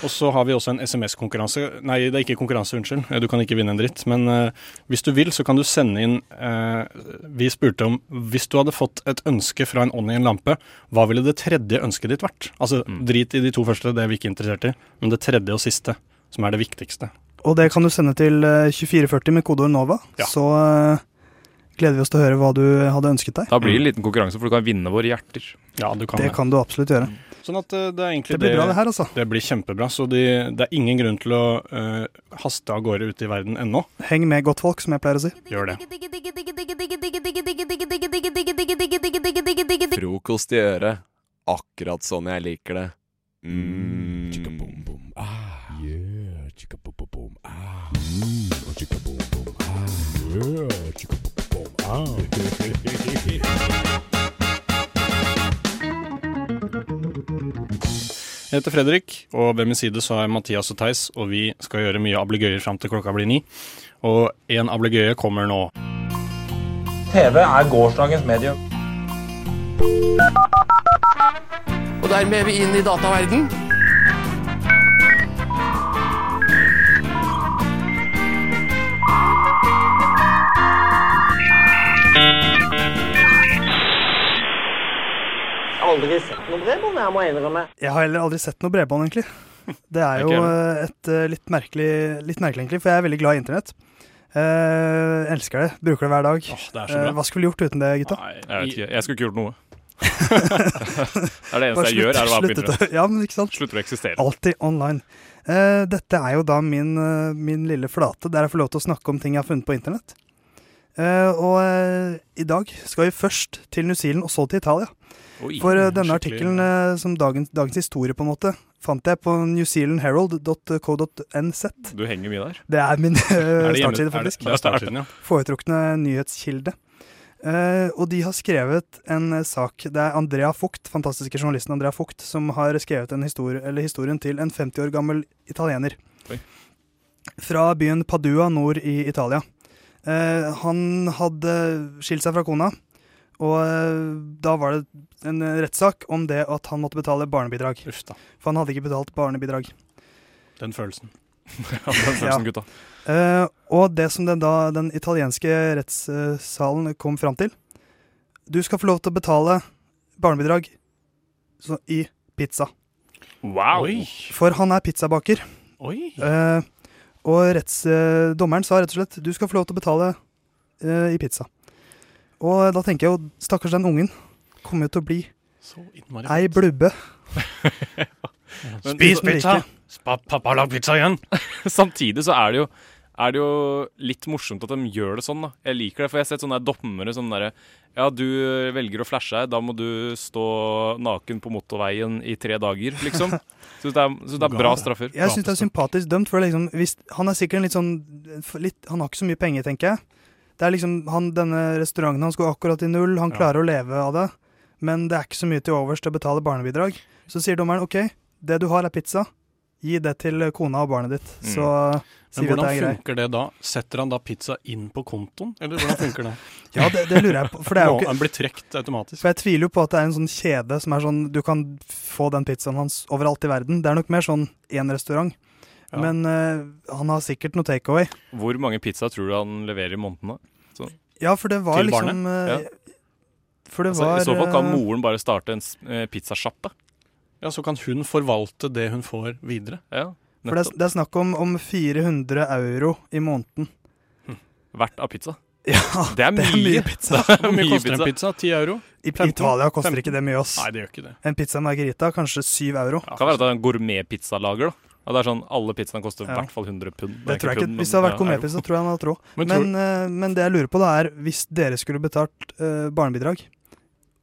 Speaker 4: Og så har vi også en SMS-konkurranse. Nei, det er ikke konkurranse, unnskyld. Eh, Du kan ikke vinne en dritt. Men eh, hvis du vil, så kan du sende inn eh, Vi spurte om hvis du hadde fått et ønske fra en ånd i en lampe, hva ville det tredje ønsket ditt vært? Altså, drit i de to første, det er vi ikke interessert i. Men det tredje og siste, som er det viktigste.
Speaker 6: Og det kan du sende til eh, 2440 med kodeord NOVA. Så eh, gleder vi oss til å høre hva du hadde ønsket deg.
Speaker 5: Da blir det en liten konkurranse, for du kan vinne våre hjerter.
Speaker 4: Ja, du
Speaker 6: det kan du absolutt gjøre.
Speaker 5: Mm.
Speaker 4: Sånn at eh, det er egentlig
Speaker 6: Det blir bra det her, altså.
Speaker 4: Det blir kjempebra. Så de, det er ingen grunn til å eh, haste av gårde ute i verden ennå.
Speaker 6: Heng med godt folk, som jeg pleier å si.
Speaker 4: Gjør det.
Speaker 7: Frokost i øret. Akkurat sånn jeg liker det. Mm.
Speaker 9: Ah, mm, oh,
Speaker 4: Jeg heter Fredrik, og ved min side så er Mathias og Theis, og vi skal gjøre mye ablegøyer fram til klokka blir ni. Og en ablegøye kommer nå.
Speaker 16: TV er gårsdagens medium.
Speaker 17: Og dermed er vi inn i dataverden.
Speaker 18: Aldri sett noe bredbånd, jeg må innrømme.
Speaker 6: Jeg har heller aldri sett noe bredbånd, egentlig. Det er jo
Speaker 18: Ikke
Speaker 6: eh, et eh, litt merkelig, litt merkelig egentlig, for jeg er veldig glad i internett. Eh, elsker det. Bruker det hver dag.
Speaker 5: det er så bra.
Speaker 6: Eh, hva skulle vi gjort uten det, gutta?
Speaker 5: Jeg vet ikke, jeg skulle ikke gjort noe. det er det eneste
Speaker 6: Bare
Speaker 5: altså, jeg gjør, er å være på
Speaker 6: slutt- sluttet
Speaker 5: internett.
Speaker 6: å- ja, men ikke sant?
Speaker 5: Slutter å eksistere.
Speaker 6: Alltid online. Eh, dette er jo da min, eh, min lille flate, der jeg får lov til å snakke om ting jeg har funnet på internett. Eh, og eh, i dag skal vi først til New Zealand, og så til Italia.
Speaker 19: Oi,
Speaker 6: For eh, denne
Speaker 19: skikkelig-
Speaker 6: artikkelen eh, som dagens, dagens historie, på en måte, fant jeg på newzealandherald.co.nz.
Speaker 5: Du henger mye der.
Speaker 6: Det er min eh,
Speaker 5: Er det hjemme-
Speaker 6: startside,
Speaker 5: er det-
Speaker 6: faktisk.
Speaker 5: det er startsiden, ja.
Speaker 6: Foretrukne nyhetskilde. Eh, og de har skrevet en eh, sak Det er Andrea Vogt, fantastiske journalisten Andrea Vogt, som har skrevet en historie, eller historien til en 50 år gammel italiener.
Speaker 5: Oi.
Speaker 6: Fra byen Padua nord i Italia. Eh, han hadde skilt seg fra kona, og eh, da var det en eh, rettssak om det at han måtte betale barnebidrag. For han hadde ikke betalt barnebidrag.
Speaker 4: Den følelsen.
Speaker 5: ja, den følelsen,
Speaker 6: Ja.
Speaker 5: gutta.
Speaker 6: Eh, og det som den, da, den italienske rettssalen kom fram til Du skal få lov til å betale barnebidrag så, i pizza.
Speaker 5: Wow!
Speaker 6: For han er pizzabaker.
Speaker 5: Oi.
Speaker 6: Eh, og rettsdommeren sa rett og slett du skal få lov til å betale eh, i pizza. Og da tenker jeg jo stakkars den ungen kommer jo til å bli
Speaker 4: innmari
Speaker 6: ei blubbe.
Speaker 5: Men-
Speaker 6: Spis pizza!
Speaker 4: Spa, pappa lag pizza igjen!
Speaker 5: Samtidig så er det jo er det jo litt morsomt at de gjør det sånn, da. Jeg liker det, for jeg har sett sånne der dommere som derre Ja, du velger å flashe her, da må du stå naken på motorveien i tre dager, liksom. Så det er, så det er bra straffer.
Speaker 6: Jeg syns det er sympatisk dømt. For det er liksom, hvis, han er sikkert en litt sånn for litt, Han har ikke så mye penger, tenker jeg. Det er liksom, han, Denne restauranten hans går akkurat i null, han
Speaker 19: Ja.
Speaker 6: klarer å leve av det. Men det er ikke så mye til overs til å betale barnebidrag. Så sier dommeren OK, det du har er pizza. Gi det til kona og barnet ditt.
Speaker 4: Mm.
Speaker 6: Så
Speaker 4: Men
Speaker 6: sier vi at
Speaker 4: hvordan
Speaker 6: det er greit.
Speaker 4: funker det da? Setter han da pizza inn på kontoen, eller hvordan funker det?
Speaker 6: Ja, det, det lurer jeg på. For det er
Speaker 4: Må
Speaker 6: jo ikke
Speaker 4: Han blir trukket automatisk.
Speaker 6: For jeg tviler jo på at det er en sånn kjede som er sånn Du kan få den pizzaen hans overalt i verden. Det er nok mer sånn én restaurant.
Speaker 5: Ja.
Speaker 6: Men eh, han har sikkert noe takeaway.
Speaker 5: Hvor mange pizza tror du han leverer i måneden, da? Så-
Speaker 6: Ja, for det var
Speaker 5: Til
Speaker 6: liksom
Speaker 5: barnet?
Speaker 6: eh, For det
Speaker 5: altså,
Speaker 6: var
Speaker 5: I så fall kan
Speaker 6: eh,
Speaker 5: moren bare starte en s- eh, pizzasjappe.
Speaker 4: Ja, så kan hun forvalte det hun får videre.
Speaker 5: Ja,
Speaker 6: For det er, det er snakk om, om 400 euro i måneden.
Speaker 5: Hvert av pizza.
Speaker 6: Ja,
Speaker 5: det er mye,
Speaker 6: pizza.
Speaker 5: Det er
Speaker 4: Hvor mye koster en pizza? 10 euro?
Speaker 6: I
Speaker 4: 15?
Speaker 6: Italia koster
Speaker 4: 15?
Speaker 6: ikke det mye, ass.
Speaker 4: Nei, det gjør ikke det.
Speaker 6: En pizza margarita kanskje 7 euro.
Speaker 5: Det kan være at det er en gourmetpizzalager, da. At det er sånn, Alle pizzaene koster i
Speaker 6: Ja.
Speaker 5: hvert fall 100 pund.
Speaker 6: Det tror jeg ikke,
Speaker 5: pund,
Speaker 6: Hvis det hadde
Speaker 5: men,
Speaker 6: vært
Speaker 5: ja,
Speaker 6: gourmetpizza, tror jeg han hadde råd.
Speaker 5: Men
Speaker 6: Men,
Speaker 5: tror-
Speaker 6: eh, men det jeg lurer på, da er hvis dere skulle betalt eh, barnebidrag,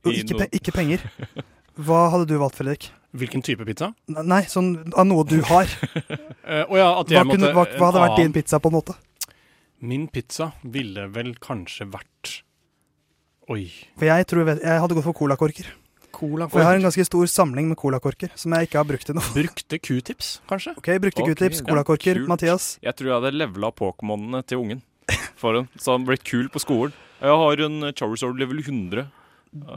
Speaker 6: og
Speaker 4: I
Speaker 6: ikke,
Speaker 4: noe-
Speaker 6: pe ikke penger, hva hadde du valgt, Fredrik?
Speaker 4: Hvilken type pizza?
Speaker 6: Ne- Nei, sånn av noe du har.
Speaker 4: Eh, å ja, at jeg
Speaker 6: hva, kunne,
Speaker 4: måtte-
Speaker 6: hva, hva hadde
Speaker 4: en
Speaker 6: vært din
Speaker 4: annen-
Speaker 6: pizza, på en måte?
Speaker 4: Min pizza ville vel kanskje vært Oi.
Speaker 6: For jeg tror jeg, vet, jeg hadde gått for colakorker.
Speaker 4: Colakorker?
Speaker 6: For jeg har en ganske stor samling med colakorker som jeg ikke har brukt til noe.
Speaker 4: Brukte q-tips, kanskje?
Speaker 6: Ok, brukte
Speaker 5: Ok,
Speaker 6: q-tips,
Speaker 5: ja,
Speaker 6: colakorker.
Speaker 5: kult.
Speaker 6: Mathias,
Speaker 5: Jeg tror jeg hadde levela Pokémonene til ungen. For hun, Så han ble kul på skolen. Jeg har en Charizard level 100.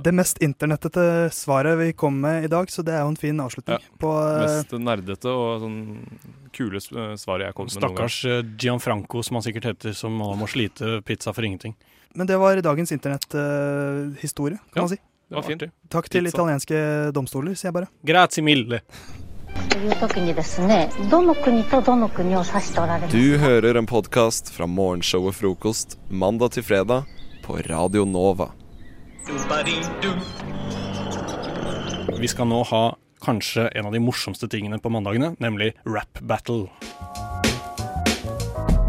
Speaker 6: det mest internettete svaret vi kom med i dag, så det er jo en fin avslutning. På, eh,
Speaker 5: Mest nerdete og sånn kule s- eh, svaret jeg kom med noen gang.
Speaker 4: Stakkars eh, Gianfranco, som han sikkert heter, som nå må slite pizza for ingenting.
Speaker 6: men det var dagens internetthistorie, kan
Speaker 4: Ja,
Speaker 6: man si.
Speaker 4: det var fint.
Speaker 6: Takk til
Speaker 4: Pizza.
Speaker 6: italienske domstoler, sier jeg bare.
Speaker 4: Grazie mille.
Speaker 20: という時にですねどの国とどの国を指しておられます
Speaker 7: Du hører en podkast fra morgenshowet Frokost mandag til fredag på Radio Nova.
Speaker 4: Vi skal nå ha kanskje en av de morsomste tingene på mandagene, nemlig rap battle.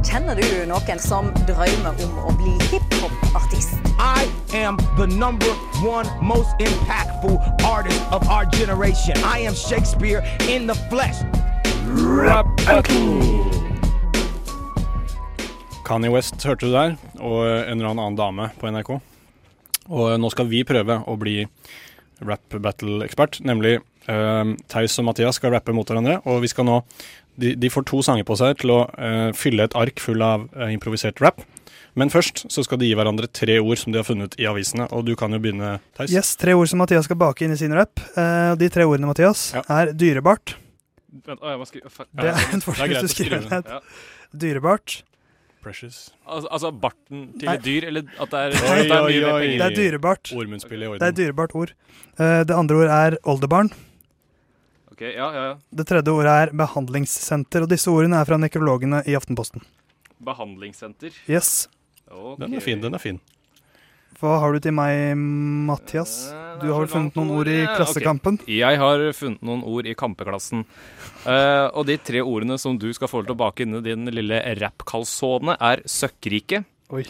Speaker 21: Kjenner du noen som drømmer om å bli hiphop-artist?
Speaker 22: I am the number one most impactful artist of our generation. I am Shakespeare in the flesh. Rap
Speaker 4: Kanye West hørte du der, og en eller annen dame på NRK. Og nå skal vi prøve å bli rap battle-ekspert, nemlig Uh, Theis og Mathias skal rappe mot hverandre, og vi skal nå De, de får to sanger på seg til å eh, fylle et ark full av eh, improvisert rap. Men først så skal de gi hverandre tre ord som de har funnet i avisene, og du kan jo begynne, Theis.
Speaker 6: Yes, Tre ord som Mathias skal bake inn i sin rap. Eh, og de tre ordene Mathias, er dyrebart.
Speaker 5: Vent, å, jeg må skrive fa-
Speaker 6: Det
Speaker 5: Ja,
Speaker 6: er en forskrift
Speaker 5: greit å
Speaker 6: du skriver
Speaker 5: skrive
Speaker 6: ned.
Speaker 5: Ja.
Speaker 6: Dyrebart.
Speaker 4: Precious.
Speaker 5: Altså, altså barten til
Speaker 4: Nei.
Speaker 5: et dyr, eller at det er,
Speaker 4: Oi,
Speaker 5: at det er
Speaker 4: oi,
Speaker 5: mye mer
Speaker 4: oi.
Speaker 5: penger
Speaker 6: Det er dyrebart.
Speaker 4: Ordmunnspillet i orden.
Speaker 6: Det er dyrebart ord. Eh, det andre ordet er oldebarn.
Speaker 5: Ok, ja, ja, ja.
Speaker 6: Det tredje ordet er behandlingssenter, og disse ordene er fra nekrologene i Aftenposten.
Speaker 5: Behandlingssenter.
Speaker 6: Yes.
Speaker 5: Ok.
Speaker 4: Den er fin, den er fin.
Speaker 6: Hva har du til meg, Mathias? Du har vel funnet noen ord i
Speaker 5: Ja, ok.
Speaker 6: Klassekampen?
Speaker 5: Jeg har funnet noen ord i kampeklassen. Eh, og de tre ordene som du skal få lov til å bake inn i din lille rappkalsone, er søkkrike.
Speaker 6: Oi.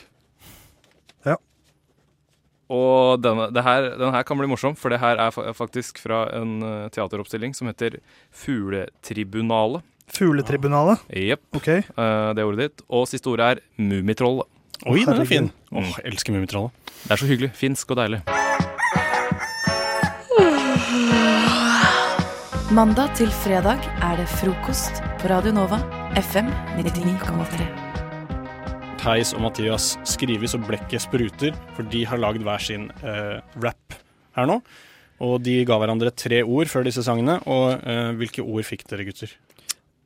Speaker 5: Og denne, det her, den her kan bli morsom, for det her er fa- faktisk fra en eh, teateroppstilling som heter Fugletribunalet.
Speaker 6: Fugletribunalet.
Speaker 5: Jepp.
Speaker 6: Ok.
Speaker 5: Eh, det er ordet ditt. Og siste ordet er Mummitrollet.
Speaker 4: Oi, den er fin.
Speaker 5: Mm.
Speaker 4: Åh, jeg elsker Mummitrollet.
Speaker 5: Det er så hyggelig. Finsk og deilig.
Speaker 2: Mandag til fredag er det frokost på Radio Nova, FM 99,3.
Speaker 4: Theis og Mathias skriver så blekket spruter, for de har lagd hver sin eh, rap her nå. Og de ga hverandre tre ord før disse sangene. Og eh, hvilke ord fikk dere, gutter?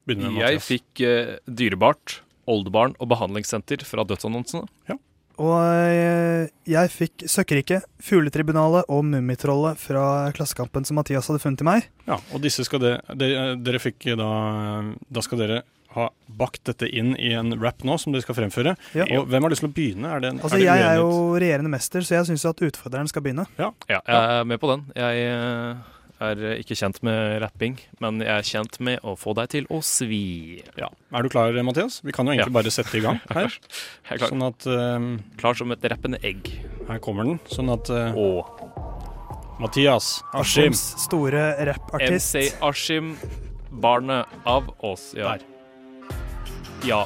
Speaker 4: Begynn med
Speaker 5: Jeg
Speaker 4: Mathias.
Speaker 5: fikk eh, dyrebart, oldebarn og behandlingssenter fra dødsannonsene.
Speaker 6: Og eh, jeg fikk Søkkerike, Fugletribunalet og Mummitrollet fra Klassekampen som Mathias hadde funnet til meg.
Speaker 4: Ja, og disse skal det, det, dere fikk da, da skal dere ha bakt dette inn i en rap nå, som dere skal fremføre.
Speaker 6: Ja.
Speaker 4: Og hvem har lyst til å begynne? Er det, en-
Speaker 6: Altså,
Speaker 4: er det
Speaker 6: jeg er
Speaker 4: uenighet?
Speaker 6: jo regjerende mester, så jeg syns at utfordreren skal begynne.
Speaker 5: Ja, jeg er med på den. Jeg eh, er ikke kjent med rapping, men jeg er kjent med å få deg til å svi.
Speaker 4: Er du klar, Mathias? Vi kan jo egentlig bare sette i gang her.
Speaker 5: Jeg er klar.
Speaker 4: Sånn at
Speaker 5: Klar som et rappende egg.
Speaker 4: Her kommer den. Sånn at eh, Mathias Askim.
Speaker 6: Askims store rappartist.
Speaker 5: MC Askim, barnet av oss. Ja. Ja.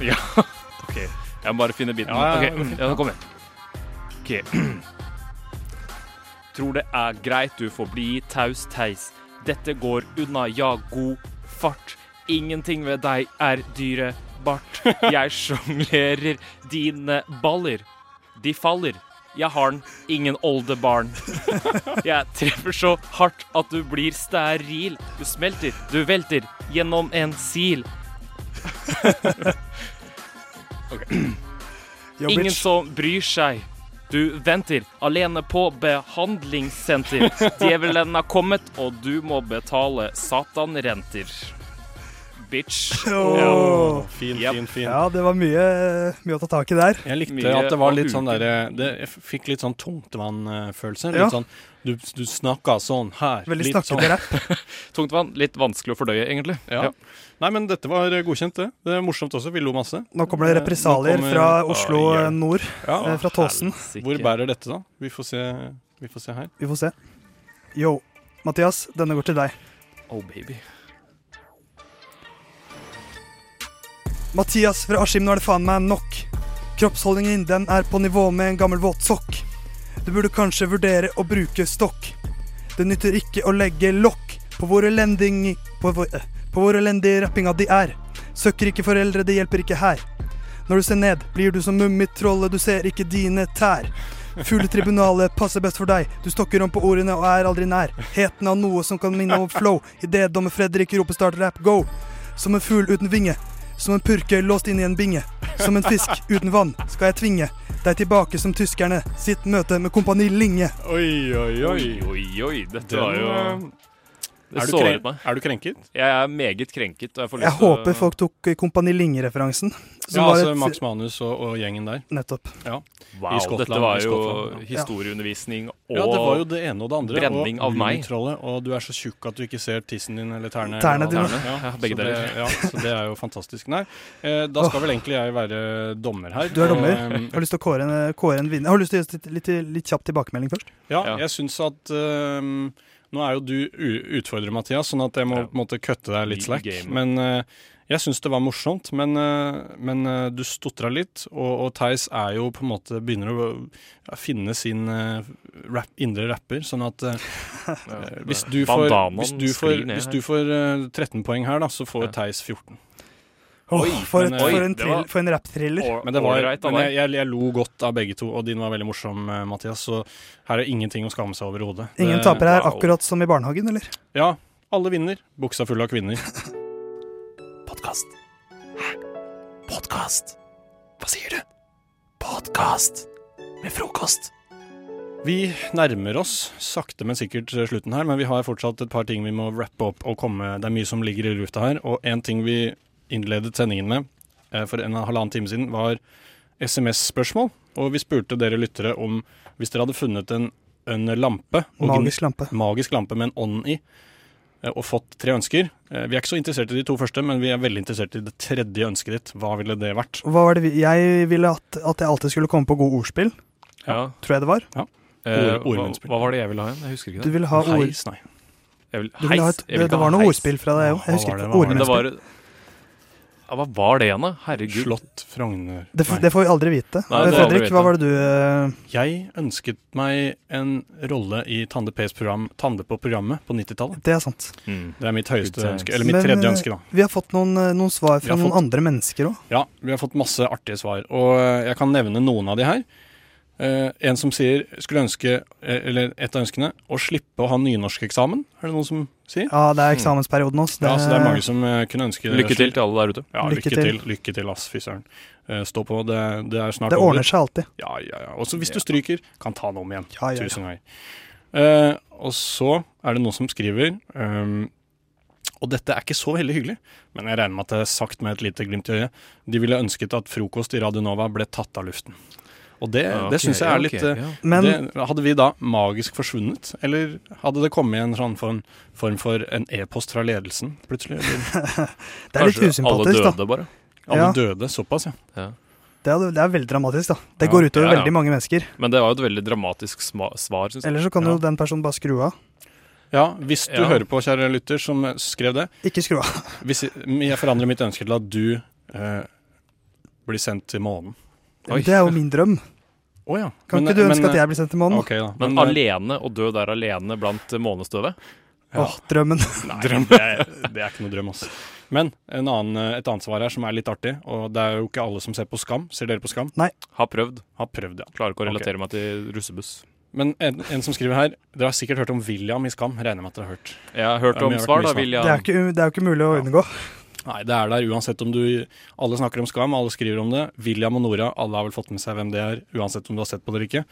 Speaker 5: ja. OK. Jeg må bare finne biten.
Speaker 4: Ja, ja,
Speaker 5: Ok,
Speaker 4: ja, ok.
Speaker 5: ja, nå kom igjen. OK. Tror det er greit du får bli taus teis. Dette går unna, ja, god fart. Ingenting ved deg er dyre bart. Jeg sjonglerer dine baller. De faller. Jeg har den, ingen oldebarn. Jeg treffer så hardt at du blir steril. Du smelter, du velter gjennom en sil.
Speaker 6: Jobbitch.
Speaker 5: Ingen
Speaker 4: sånn.
Speaker 5: som bryr seg. Du venter alene på behandlingssenter. Djevelen har kommet, og du må betale satanrenter. Bitch.
Speaker 6: Åh.
Speaker 4: Fin, fin, fin.
Speaker 6: Ja, det var mye, mye å ta tak i der.
Speaker 4: Jeg likte at det var litt sånn der, det, Jeg fikk litt sånn tungtvann-følelse.
Speaker 6: Ja.
Speaker 4: Litt sånn Du, du snakka sånn her.
Speaker 6: Veldig
Speaker 4: litt
Speaker 6: snakkete
Speaker 5: Tungtvann. Litt vanskelig å fordøye, egentlig.
Speaker 4: Ja. Nei, men dette var godkjent, det. Det er morsomt også. Vi lo masse.
Speaker 6: Nå kommer det
Speaker 4: Eh,
Speaker 6: represalier
Speaker 4: nå kommer-
Speaker 6: fra Oslo
Speaker 4: Oi,
Speaker 6: eh,
Speaker 4: hjelp.
Speaker 6: nord,
Speaker 4: Ja.
Speaker 6: eh,
Speaker 5: Ah,
Speaker 6: fra Tåsen.
Speaker 4: Hvor bærer dette, da? Vi får se, vi får se her.
Speaker 6: Vi får se. Yo, Mathias, denne går til deg.
Speaker 5: Oh, baby.
Speaker 6: Mathias fra Askim, nå er det faen meg nok. Kroppsholdningen din den er på nivå med en gammel våtsokk. Du burde kanskje vurdere å bruke stokk. Det nytter ikke å legge lokk på hvor elendig på, hvor- eh, på hvor elendig rappinga di er. Søkker ikke foreldre, det hjelper ikke her. Når du ser ned, blir du som mummitrollet, du ser ikke dine tær. Fugletribunalet passer best for deg, du stokker om på ordene og er aldri nær. Heten av noe som kan minne om flow, idet dommer Fredrik roper start rap go. Som en fugl uten vinge, som en purke låst inn i en binge. Som en fisk uten vann skal jeg tvinge deg tilbake som tyskerne, sitt møte med Kompani Linge.
Speaker 4: Oi, oi,
Speaker 5: Oi, oi, oi. Dette
Speaker 4: Den,
Speaker 5: var jo
Speaker 4: eh,
Speaker 5: Det
Speaker 4: er du
Speaker 5: såret
Speaker 4: krenk-
Speaker 5: meg.
Speaker 4: er du krenket?
Speaker 5: Jeg er meget krenket. Og jeg får
Speaker 6: Jeg
Speaker 5: lyst til å-
Speaker 6: håper folk tok eh, Kompani Linge-referansen. som
Speaker 4: Ja,
Speaker 6: var
Speaker 4: altså
Speaker 6: et-
Speaker 4: Max Manus og, og gjengen der.
Speaker 6: Nettopp.
Speaker 4: Ja.
Speaker 5: Wow,
Speaker 4: I Skottland,
Speaker 5: dette var
Speaker 4: i
Speaker 5: jo
Speaker 4: Skottland, ja.
Speaker 5: historieundervisning og
Speaker 4: Ja, det var jo det ene og det andre.
Speaker 5: brenning
Speaker 4: og
Speaker 5: av meg.
Speaker 4: Mummitrollet, Og du er så tjukk at du ikke ser tissen din eller tærne. eller
Speaker 6: Tærne dine.
Speaker 4: alt.
Speaker 5: Ja, begge
Speaker 4: så det-
Speaker 5: deler.
Speaker 4: Ja, så det er jo fantastisk. Nei, eh, da skal vel egentlig jeg være dommer her.
Speaker 6: Du er dommer.
Speaker 4: Eh,
Speaker 6: Jeg har lyst til å kåre en, kåre en vinner. Jeg har lyst til å gi oss litt, litt, litt kjapp tilbakemelding først.
Speaker 4: Ja, jeg syns at ehm, Nå er jo du u- utfordrer, Mathias, sånn at jeg må på en måte kutte deg litt slack.
Speaker 5: Game.
Speaker 4: Men eh, Jeg syns det var morsomt, men, eh, men eh, du stotra litt, og, og Theis er jo på en måte begynner å ja, finne sin eh, rap, indre rapper, sånn at eh, eh, hvis, du får,
Speaker 5: Bandanaen
Speaker 4: hvis du får,
Speaker 5: sklir ned
Speaker 4: hvis
Speaker 5: her.
Speaker 4: du får eh, 13 poeng her, da, så får Theis 14.
Speaker 6: Åh, for,
Speaker 4: men,
Speaker 6: et,
Speaker 4: eh,
Speaker 6: for en, thrill, for en rap-thriller.
Speaker 4: men, det var, men jeg, jeg, jeg lo godt av begge to, og din var veldig morsom, eh, Mathias. Så her er ingenting å skamme seg over hodet.
Speaker 6: Ingen
Speaker 4: Det-
Speaker 6: tapere her, akkurat som i barnehagen, eller?
Speaker 4: Ja, alle vinner. Buksa full av kvinner.
Speaker 7: Podkast. Hæ? Podkast? Hva sier du? Podkast med frokost.
Speaker 4: Vi nærmer oss sakte, men sikkert eh, slutten her, men vi har fortsatt et par ting vi må rappe opp og komme Det er mye som ligger i lufta her, og en ting vi innledet sendingen med eh, for en og en halvannen time siden, var SMS-spørsmål. Og vi spurte dere lyttere om hvis dere hadde funnet en, en lampe og gn-
Speaker 6: Magisk lampe.
Speaker 4: magisk lampe med en ånd i, eh, og fått tre ønsker. Eh, Vi er ikke så interessert i de to første, men vi er veldig interessert i det tredje ønsket ditt. Hva ville det vært?
Speaker 6: Hva var det vi, jeg ville at, at jeg alltid skulle komme på gode ordspill,
Speaker 5: Ja.
Speaker 6: tror jeg det var.
Speaker 5: Eh,
Speaker 4: Ord-
Speaker 5: hva,
Speaker 4: ordmunnspill.
Speaker 5: hva var det jeg ville ha igjen? Jeg husker ikke det.
Speaker 6: Du ville ha ord-
Speaker 5: Heis, nei. Jeg vil,
Speaker 6: Du ville ha
Speaker 5: heis?
Speaker 6: et-
Speaker 5: Jeg vil
Speaker 6: det-
Speaker 5: ikke
Speaker 6: det
Speaker 5: ha
Speaker 6: var noe
Speaker 5: heis.
Speaker 6: ordspill fra deg òg. Jeg
Speaker 5: Hva
Speaker 6: husker
Speaker 5: var det?
Speaker 6: ikke.
Speaker 5: Hva var det? Det
Speaker 6: Ordmennspill.
Speaker 5: var- Ja, hva var det igjen, da? Herregud.
Speaker 4: Slott Frogner
Speaker 6: Det, f- det får vi aldri vite.
Speaker 5: Nei, det får vi aldri
Speaker 6: Fredrik, hva
Speaker 5: vite.
Speaker 6: var det du eh,
Speaker 4: Jeg ønsket meg en rolle i Tande P's program Tande på programmet på 90-tallet.
Speaker 6: Det er sant.
Speaker 5: Mm.
Speaker 4: Det er mitt høyeste
Speaker 5: times.
Speaker 4: ønske, eller mitt
Speaker 6: Men,
Speaker 4: tredje
Speaker 6: eh,
Speaker 4: ønske, da.
Speaker 6: Vi har fått noen, eh, noen svar
Speaker 4: Vi
Speaker 6: fra
Speaker 4: har
Speaker 6: noen
Speaker 4: fått-
Speaker 6: andre mennesker òg.
Speaker 4: Ja, vi har fått masse artige svar, og eh, jeg kan nevne noen av de her. Eh, en som sier skulle ønske, eh, eller et av ønskene, å slippe å ha nynorskeksamen. Er det noen som sier?
Speaker 6: Ja, det er eksamensperioden også.
Speaker 4: Mm. Ja, så det er mange som eh, kunne ønske det.
Speaker 5: Lykke til til alle der ute.
Speaker 4: Ja, lykke,
Speaker 6: Lykke
Speaker 4: til.
Speaker 6: til.
Speaker 4: Lykke til, ass, fy søren. Eh, stå på, det, det er snart
Speaker 6: Det
Speaker 4: over.
Speaker 6: ordner seg alltid.
Speaker 4: Ja, ja, ja. Også hvis du stryker, kan ta den om igjen.
Speaker 6: Ja, ja, ja.
Speaker 4: Tusen ganger. Eh, og så er det noen som skriver ehm, Og dette er ikke så veldig hyggelig, men jeg regner med at det er sagt med et lite glimt i øyet. De ville ønsket at frokost i Radio Nova ble tatt av luften. Og det,
Speaker 5: Ja,
Speaker 4: det
Speaker 5: Ah, ok,
Speaker 4: syns jeg er
Speaker 5: ja,
Speaker 4: litt
Speaker 5: ok,
Speaker 4: eh,
Speaker 5: ja.
Speaker 6: Men-
Speaker 4: det, Hadde vi da magisk forsvunnet, eller hadde det kommet i en sånn form, form for en e-post fra ledelsen plutselig? Eller?
Speaker 6: Det er litt Kanskje alle usympatisk, da. døde bare?
Speaker 4: Alle
Speaker 6: Ja.
Speaker 4: døde, såpass, ja.
Speaker 6: Det er, det er veldig dramatisk, da. Det
Speaker 5: Ja,
Speaker 6: går utover
Speaker 5: ja, ja.
Speaker 6: veldig mange mennesker.
Speaker 5: Men det var jo et veldig dramatisk sma svar, syns jeg.
Speaker 6: Ellers så kan
Speaker 5: ja.
Speaker 6: jo den personen bare skru av.
Speaker 4: Ja, hvis du
Speaker 5: Ja.
Speaker 4: hører på, kjære lytter, som eh, skrev det
Speaker 6: Ikke skru av.
Speaker 4: hvis jeg, men jeg forandrer mitt ønske til at du eh, blir sendt til månen.
Speaker 6: Det er jo min drøm.
Speaker 4: Å ja.
Speaker 6: Kan
Speaker 4: Men- eh,
Speaker 6: ikke du ønske
Speaker 4: men-
Speaker 6: at jeg blir sendt til månen?
Speaker 4: Ok, da.
Speaker 5: Men,
Speaker 4: Men, eh,
Speaker 5: alene, å dø der alene blant eh, månestøvet?
Speaker 4: Ja.
Speaker 6: Åh, drømmen.
Speaker 4: Nei, det, er, det er ikke noe drøm, altså. Men en annen, eh, et annet svar her som er litt artig, og det er jo ikke alle som ser på Skam. Ser dere på Skam?
Speaker 6: Nei.
Speaker 5: Har prøvd.
Speaker 4: Har prøvd, ja.
Speaker 5: Klarer ikke
Speaker 4: Ok.
Speaker 5: å relatere meg til russebuss.
Speaker 4: Men en, en som skriver her Dere har sikkert hørt om William i Skam. Regner med at dere har hørt.
Speaker 5: Jeg har hørt
Speaker 4: Det er
Speaker 5: om
Speaker 4: mye-
Speaker 5: svar,
Speaker 4: mye
Speaker 5: da, William.
Speaker 6: Det er jo ikke, det er jo ikke mulig å unngå.
Speaker 4: Nei, det er der uansett om du Alle snakker om Skam, alle skriver om det. William og Nora, alle har vel fått med seg hvem det er, uansett om du har sett på det eller ikke.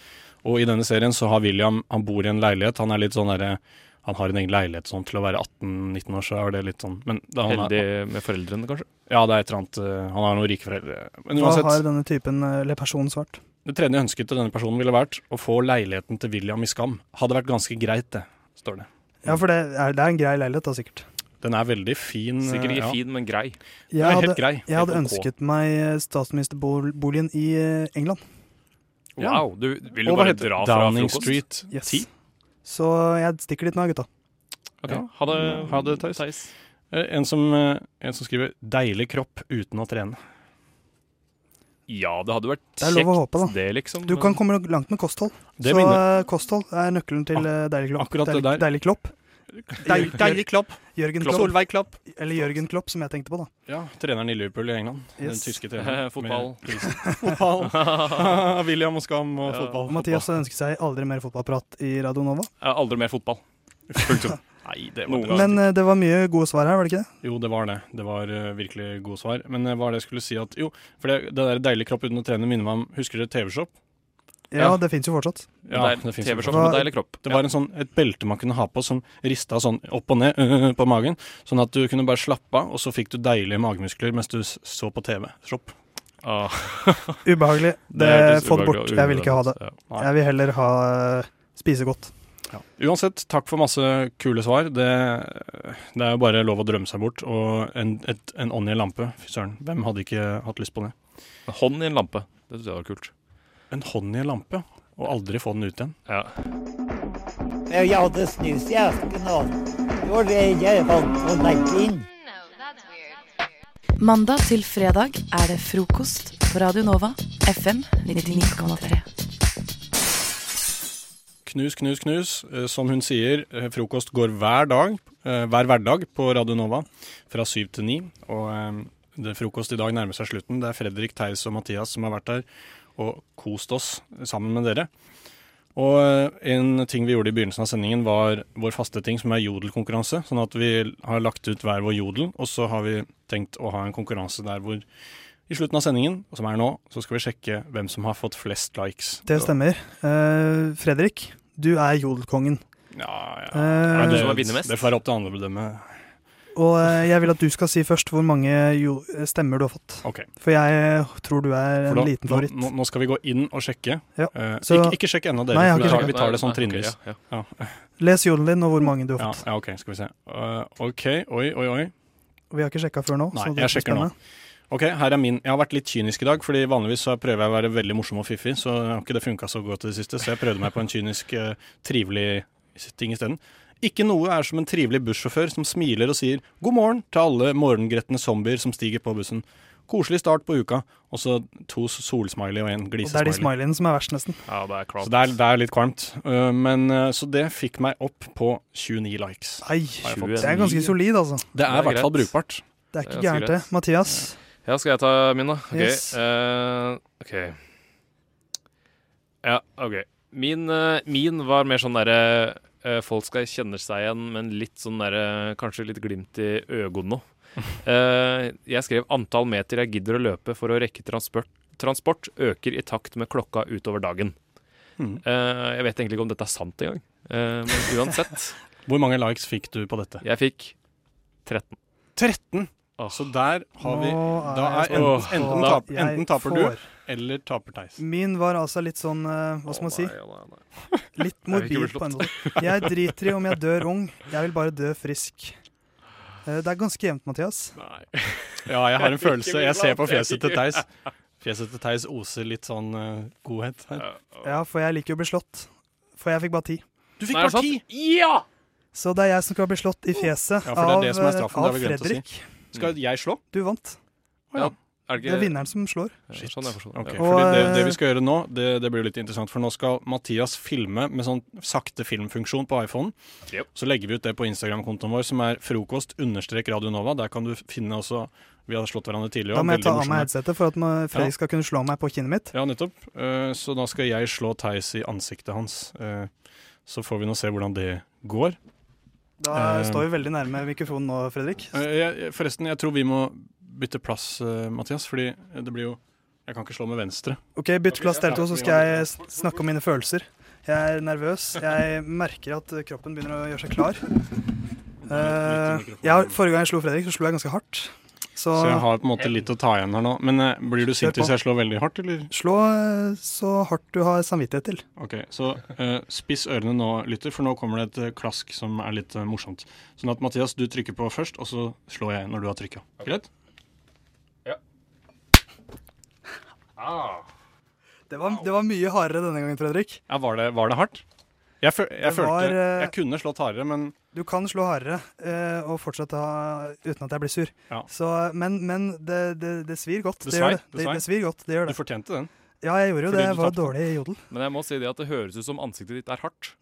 Speaker 4: Og i denne serien så har William Han bor i en leilighet. Han er litt sånn derre Han har en egen leilighet sånn til å være 18-19 år, så er det litt sånn Men da han
Speaker 5: Heldig
Speaker 4: er
Speaker 5: med foreldrene, kanskje?
Speaker 4: Ja, det er et eller annet eh, Han har noen rike foreldre. Men
Speaker 6: Hva har
Speaker 4: uansett
Speaker 6: denne typen eh, eller personen svart?
Speaker 4: Det tredje ønsket til denne personen ville vært å få leiligheten til William i Skam. Hadde vært ganske greit, det, står det.
Speaker 6: Ja, for det er, det er en grei leilighet, da, sikkert.
Speaker 4: Den er veldig fin. eh,
Speaker 5: Sikkert ikke
Speaker 4: ja.
Speaker 5: fin, men grei.
Speaker 4: Den er helt grei.
Speaker 6: jeg hadde
Speaker 4: Helt ok.
Speaker 6: ønsket meg eh, statsministerboligen i eh, England.
Speaker 5: Wow, du vil jo
Speaker 4: Og hva
Speaker 5: bare
Speaker 4: heter-
Speaker 5: dra fra
Speaker 4: Downing
Speaker 5: frokost.
Speaker 4: Street
Speaker 6: Yes.
Speaker 4: 10.
Speaker 6: Så jeg stikker dit nå, gutta.
Speaker 5: Ok, Ha det,
Speaker 4: Ha det, Theis. Eh, En, som, eh, en som skriver 'deilig kropp uten å trene'.
Speaker 5: Ja, det hadde vært
Speaker 6: Det er lov å
Speaker 5: kjekt,
Speaker 6: håpe, da.
Speaker 5: det, liksom.
Speaker 6: Du kan komme langt med kosthold.
Speaker 4: Det
Speaker 6: så
Speaker 4: minner-
Speaker 6: eh, kosthold er nøkkelen til eh, deilig klopp.
Speaker 4: akkurat det
Speaker 6: Deilig-
Speaker 4: der.
Speaker 6: Deilig klopp.
Speaker 4: Deil- deilig klopp.
Speaker 6: Jørgen
Speaker 4: Klopp.
Speaker 6: Klopp.
Speaker 4: Solveig Klopp.
Speaker 6: Eller Jørgen Klopp, som jeg tenkte på, da.
Speaker 4: Ja, treneren i Liverpool i England.
Speaker 6: Yes.
Speaker 4: Den tyske treneren.
Speaker 5: Fotball.
Speaker 4: Med pilsen. fotball. William og Skam og fotball.
Speaker 6: Og Mathias ønsker seg aldri mer fotballprat i Radio Nova.
Speaker 5: Eh, Aldri mer fotball. Punktum. Nei, det var
Speaker 6: Men eh, det var mye gode svar her, var det ikke det?
Speaker 4: Jo, det var det. Det var eh, virkelig gode svar. Men eh, hva var det jeg skulle si at Jo, for det, det der deilig kropp uten å trene minner meg om Husker dere TV-Shop?
Speaker 6: Ja, det fins jo fortsatt.
Speaker 4: Ja,
Speaker 5: Det er
Speaker 4: det finnes
Speaker 5: TV-shop
Speaker 4: jo.
Speaker 5: med deilig kropp.
Speaker 4: Det var en sånn, et belte man kunne ha på som rista sånn opp og ned øh, på magen, sånn at du kunne bare slappe av, og så fikk du deilige magemuskler mens du s- så på TV-shop.
Speaker 6: Ubehagelig.
Speaker 4: Det
Speaker 6: Det,
Speaker 4: hørtes
Speaker 6: Få det
Speaker 4: ubehagelig
Speaker 6: bort.
Speaker 4: og
Speaker 6: Jeg vil ikke ha det.
Speaker 4: urealistisk, ja.
Speaker 6: Jeg vil heller ha eh, spise godt.
Speaker 4: Uansett, takk for masse kule svar. Det, det er jo bare lov å drømme seg bort. Og en, et, en ånd i en lampe. Fy søren, hvem hadde ikke hatt lyst på det?
Speaker 5: En hånd i en lampe. Det syns jeg var kult.
Speaker 4: En hånd i en lampe, og aldri få den ut igjen.
Speaker 5: Ja.
Speaker 1: Eh, Jeg hadde snus i esken, og det var det jeg fant og legge inn.
Speaker 2: Mandag til fredag er det frokost på Radio Nova, FM 99,3.
Speaker 4: Knus, knus, knus. Eh, Som hun sier, eh, frokost går hver dag, eh, hver hverdag på Radio Nova fra syv til ni. Og eh, det frokost i dag nærmer seg slutten. Det er Fredrik, Theis og Mathias som har vært der og kost oss sammen med dere. Og eh, en ting vi gjorde i begynnelsen av sendingen var vår faste ting som er jodelkonkurranse. Sånn at vi har lagt ut hver vår jodel, og så har vi tenkt å ha en konkurranse der hvor i slutten av sendingen, som er nå, så skal vi sjekke hvem som har fått flest likes.
Speaker 6: Det stemmer. Eh, Fredrik, du er jodelkongen.
Speaker 4: Ja, ja.
Speaker 6: Eh,
Speaker 4: det, det får være opp til andre å bedømme.
Speaker 6: Og eh, jeg vil at du skal si først hvor mange jo eh, stemmer du har fått.
Speaker 4: Ok.
Speaker 6: For jeg eh, tror du
Speaker 4: For
Speaker 6: er en
Speaker 4: da,
Speaker 6: liten
Speaker 4: nå,
Speaker 6: favoritt.
Speaker 4: nå, nå skal vi gå inn og sjekke.
Speaker 6: Ja.
Speaker 4: Eh,
Speaker 6: Så-
Speaker 4: ikke, ikke sjekk ennå, dere.
Speaker 6: Nei, jeg
Speaker 4: for
Speaker 6: har
Speaker 4: vi,
Speaker 6: ikke
Speaker 4: tar, vi
Speaker 6: sjekket.
Speaker 4: tar det sånn
Speaker 6: Nei, ok,
Speaker 4: trinnvis.
Speaker 6: ja,
Speaker 4: Ja.
Speaker 6: Les jodelen din og hvor mange du har
Speaker 4: Ja,
Speaker 6: fått.
Speaker 4: ja, OK, skal vi se. Eh, OK, oi, oi, oi.
Speaker 6: Og Vi har ikke sjekka før nå.
Speaker 4: Nei,
Speaker 6: så
Speaker 4: jeg
Speaker 6: det blir
Speaker 4: sjekker nå.
Speaker 6: spennende.
Speaker 4: Ok, her er min. Jeg har vært litt kynisk i dag, fordi vanligvis så prøver jeg å være veldig morsom og fiffig, så har ikke det funka så godt i det siste, så jeg prøvde meg på en kynisk, eh, trivelig ting isteden. Ikke noe er som en trivelig bussjåfør som smiler og sier 'god morgen' til alle morgengretne zombier som stiger på bussen. Koselig start på uka. Og så to solsmiley og en
Speaker 6: Og det er
Speaker 4: glisesmiley.
Speaker 6: de smileyene som er verst, nesten.
Speaker 5: Ja, det er klart.
Speaker 4: Så det er, det er litt kvalmt. Eh, men, eh, så det fikk meg opp på 29 likes.
Speaker 6: Nei,
Speaker 4: har jeg fått.
Speaker 6: det er ganske solid, altså.
Speaker 4: Det er i hvert fall
Speaker 5: greit.
Speaker 4: brukbart.
Speaker 6: Det er ikke
Speaker 5: Det er ganske
Speaker 6: gærent, det. Mathias,
Speaker 5: Ja, skal jeg ta min, da? Ok.
Speaker 6: Yes.
Speaker 5: eh, ok. Ja, OK. Min, eh, min var mer sånn derre eh, Folk skal kjenne seg igjen, men litt sånn derre Kanskje litt glimt i øynene. Eh, jeg skrev 'antall meter jeg gidder å løpe for å rekke transport, transport øker i takt med klokka utover dagen'.
Speaker 4: Mhm.
Speaker 5: Eh, jeg vet egentlig ikke om dette er sant engang, uh, men uansett.
Speaker 4: Hvor mange likes fikk du på dette?
Speaker 5: Jeg fikk 13.
Speaker 4: 13! Så der har vi
Speaker 6: Nå er
Speaker 4: Da er
Speaker 6: jeg
Speaker 4: enten,
Speaker 6: spent
Speaker 4: enten,
Speaker 6: på hva
Speaker 4: tap,
Speaker 6: jeg
Speaker 4: enten taper
Speaker 6: får.
Speaker 4: du, eller taper Theis.
Speaker 6: min var altså litt sånn eh, Hva skal man si?
Speaker 4: Jeg
Speaker 6: Litt
Speaker 4: vil ikke
Speaker 6: morbid
Speaker 4: bli
Speaker 6: på en
Speaker 4: slått.
Speaker 6: måte. Jeg driter i om jeg dør ung, jeg vil bare dø frisk. Eh, Det er ganske jevnt, Mathias.
Speaker 4: Ja, jeg har en
Speaker 6: Jeg vil ikke
Speaker 4: følelse.
Speaker 6: bli
Speaker 4: Jeg ser på
Speaker 6: blant, jeg
Speaker 4: fjeset til
Speaker 6: liker.
Speaker 4: Theis. Fjeset til Theis oser litt sånn eh, godhet her.
Speaker 6: Ja, for jeg liker jo å bli slått. For jeg fikk bare ti.
Speaker 4: Du fikk Nei, er det bare sant?
Speaker 5: Ja!
Speaker 6: Så det er jeg som skal bli slått i fjeset
Speaker 4: Ja, for det
Speaker 6: av,
Speaker 4: er det som er straffen. Det har vi
Speaker 6: av
Speaker 4: glemt å
Speaker 6: Fredrik.
Speaker 4: si. Skal jeg slå?
Speaker 6: Du vant.
Speaker 4: Ja.
Speaker 5: Er
Speaker 6: Det er vinneren som slår.
Speaker 5: Shit. Sånn jeg forstår det.
Speaker 4: Ok,
Speaker 5: Ja.
Speaker 4: fordi det, det
Speaker 6: eh,
Speaker 4: vi skal gjøre nå, det, det blir jo litt interessant. For nå skal Mathias filme med sånn sakte filmfunksjon på iPhone. Så legger vi ut det på Instagram-kontoen vår, som er frokost understrek Radio Nova. Der kan du finne også Vi har slått hverandre tidligere.
Speaker 6: Da
Speaker 4: og
Speaker 6: må jeg
Speaker 4: veldig
Speaker 6: ta av
Speaker 4: morsomme.
Speaker 6: meg headsetet for at ma-
Speaker 4: Ja.
Speaker 6: Fredrik skal kunne slå meg på kinnet mitt.
Speaker 4: Ja, nettopp. Eh, Så da skal jeg slå Theis i ansiktet hans. Eh, Så får vi nå se hvordan det går.
Speaker 6: Da
Speaker 4: Eh,
Speaker 6: står vi veldig nærme mikrofonen nå, Fredrik.
Speaker 4: eh, jeg- jeg- Forresten, jeg tror vi må bytte plass, eh, Mathias, fordi det blir jo Jeg kan ikke slå med venstre.
Speaker 6: Ok, bytt plass dere to, så skal jeg s- snakke om mine følelser. Jeg er nervøs. Jeg merker at eh, kroppen begynner å gjøre seg klar. Eh, jeg, har- forrige gang jeg slo Fredrik, så slo jeg ganske hardt. Så,
Speaker 4: Så jeg har på en måte litt å ta igjen her nå. Men eh, blir du sint
Speaker 6: Kjør på.
Speaker 4: hvis jeg slår veldig hardt, eller?
Speaker 6: Slå eh, så hardt du har samvittighet til.
Speaker 4: Ok, så eh, spiss ørene nå, lytter, for nå kommer det et eh, klask som er litt eh, morsomt. Sånn at Mathias, du trykker på først, og så slår jeg når du har trykka. Greit?
Speaker 6: Det var, det var mye hardere denne gangen, Fredrik.
Speaker 4: Ja, var det, var det hardt? Jeg, fø jeg
Speaker 6: Det var,
Speaker 4: følte
Speaker 6: eh,
Speaker 4: Jeg kunne slått hardere, men
Speaker 6: Du kan slå hardere eh, og fortsatt ha, uten at jeg blir sur.
Speaker 4: Ja.
Speaker 6: Så, men men det, det, det svir godt.
Speaker 4: Det
Speaker 6: Det, gjør
Speaker 4: svei,
Speaker 6: det.
Speaker 4: det
Speaker 6: Det,
Speaker 4: svei.
Speaker 6: det svir godt. Det gjør det.
Speaker 4: Du fortjente den.
Speaker 6: Ja, jeg gjorde jo
Speaker 4: Fordi du
Speaker 6: det. Jeg var
Speaker 4: tapte.
Speaker 6: dårlig i jodel.
Speaker 5: Men jeg må si det at det høres ut som ansiktet ditt er hardt.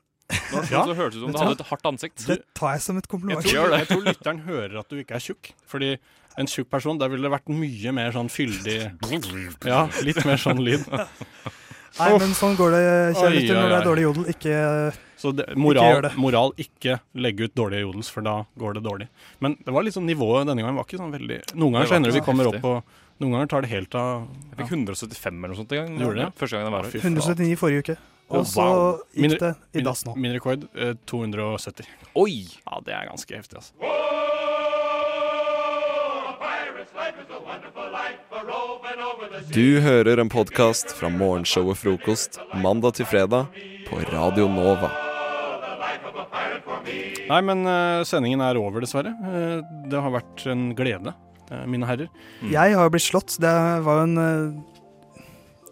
Speaker 5: Når det
Speaker 4: Ja,
Speaker 5: så høres det ut
Speaker 4: vet
Speaker 5: som du
Speaker 4: du
Speaker 5: hadde
Speaker 4: hva?
Speaker 5: et hardt ansikt.
Speaker 6: Det tar jeg som et kompliment.
Speaker 4: Jeg tror, jeg tror lytteren hører at du ikke er tjukk. Fordi en tjukk person, der ville det vært mye mer sånn fyldig Ja, litt mer sånn lyd.
Speaker 6: Nei, men sånn går det, kjære lytter, når det er dårlig jodel. Ikke,
Speaker 4: Så det,
Speaker 6: ikke
Speaker 4: moral,
Speaker 6: gjør det.
Speaker 4: moral, ikke legge ut dårlige jodels, for da går det dårlig. Men det var liksom nivået denne gangen var ikke sånn veldig Noen ganger
Speaker 5: Det var
Speaker 4: så hender det
Speaker 5: ikke
Speaker 4: vi kommer
Speaker 5: heftig.
Speaker 4: opp på Noen ganger tar det helt av
Speaker 5: Jeg fikk 175 eller noe sånt en gang.
Speaker 4: Gjorde du det?
Speaker 5: Første gangen jeg var her.
Speaker 6: 179 i forrige uke. Og så
Speaker 4: Min-
Speaker 6: gikk det i
Speaker 4: min-
Speaker 6: dass nå.
Speaker 4: Min rekord eh, 270.
Speaker 5: Oi!
Speaker 4: Ja, det er ganske heftig, altså.
Speaker 7: Du hører en podkast fra morgenshowet Frokost mandag til fredag på Radio Nova.
Speaker 4: Nei, men eh, sendingen er over, dessverre. Eh, det har vært en glede, eh, mine herrer.
Speaker 6: Jeg har jo blitt slått. så Det var jo en eh,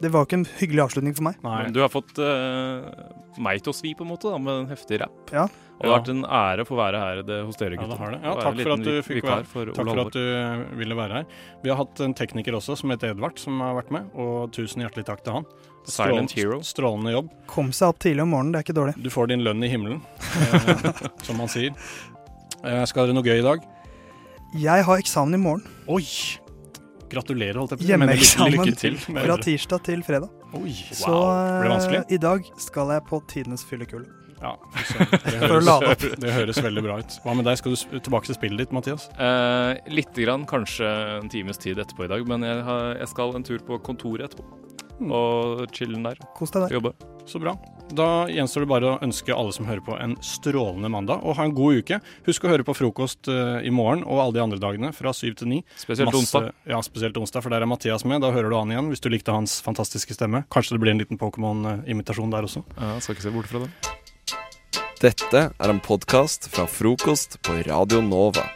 Speaker 6: Det var jo ikke en hyggelig avslutning for meg.
Speaker 5: Men du har fått eh, meg til å svi, på en måte, da, med en heftig rap.
Speaker 6: Ja.
Speaker 5: Og det har vært en ære å få være her det, hos dere,
Speaker 4: Ja, det
Speaker 5: gutter.
Speaker 4: har det. Ja,
Speaker 5: Og
Speaker 4: takk
Speaker 5: være
Speaker 4: for
Speaker 5: liten
Speaker 4: at du
Speaker 5: vik-
Speaker 4: fikk
Speaker 5: vikar
Speaker 4: være,
Speaker 5: for
Speaker 4: takk
Speaker 5: Ole
Speaker 4: for
Speaker 5: Halvor.
Speaker 4: at du eh, ville være her. Vi har hatt en tekniker også som heter Edvard, som har vært med, og tusen hjertelig takk til han.
Speaker 5: Silent hero.
Speaker 4: Strålende jobb.
Speaker 6: Kom seg opp tidlig om morgenen, det er ikke dårlig.
Speaker 4: Du får din lønn i himmelen, eh, som han sier. Eh, skal dere noe gøy i dag?
Speaker 6: Jeg har eksamen i morgen.
Speaker 4: Oi! Gratulerer, holdt jeg på å si. Men lykke-
Speaker 6: Hjemmeeksamen
Speaker 4: lykke til med
Speaker 6: fra
Speaker 4: dere.
Speaker 6: tirsdag til fredag.
Speaker 4: Oi,
Speaker 6: Så
Speaker 4: wow. Blir det vanskelig?
Speaker 6: eh, i dag skal jeg på tidenes fyllekule.
Speaker 4: Ja, så det,
Speaker 6: For å lade opp.
Speaker 4: høres, det høres veldig bra ut. Hva med deg, skal du sp- tilbake til spillet ditt, Mathias?
Speaker 5: Eh, litt grann, kanskje en times tid etterpå i dag, men jeg, har, jeg skal en tur på kontoret etterpå.
Speaker 4: Hmm.
Speaker 5: Og chillen der.
Speaker 6: Kos deg der.
Speaker 5: Jobbe.
Speaker 4: Så bra. Da gjenstår det bare å ønske alle som hører på, en strålende mandag, og ha en god uke. Husk å høre på frokost eh, i morgen og alle de andre dagene fra syv til ni.
Speaker 5: Spesielt onsdag.
Speaker 4: Ja, spesielt onsdag, for der er Mathias med. Da hører du han igjen, hvis du likte hans fantastiske stemme. Kanskje det blir en liten Pokémon-imitasjon der også.
Speaker 5: Ja, skal ikke se bort fra det.
Speaker 7: Dette er en podkast fra frokost på Radio Nova.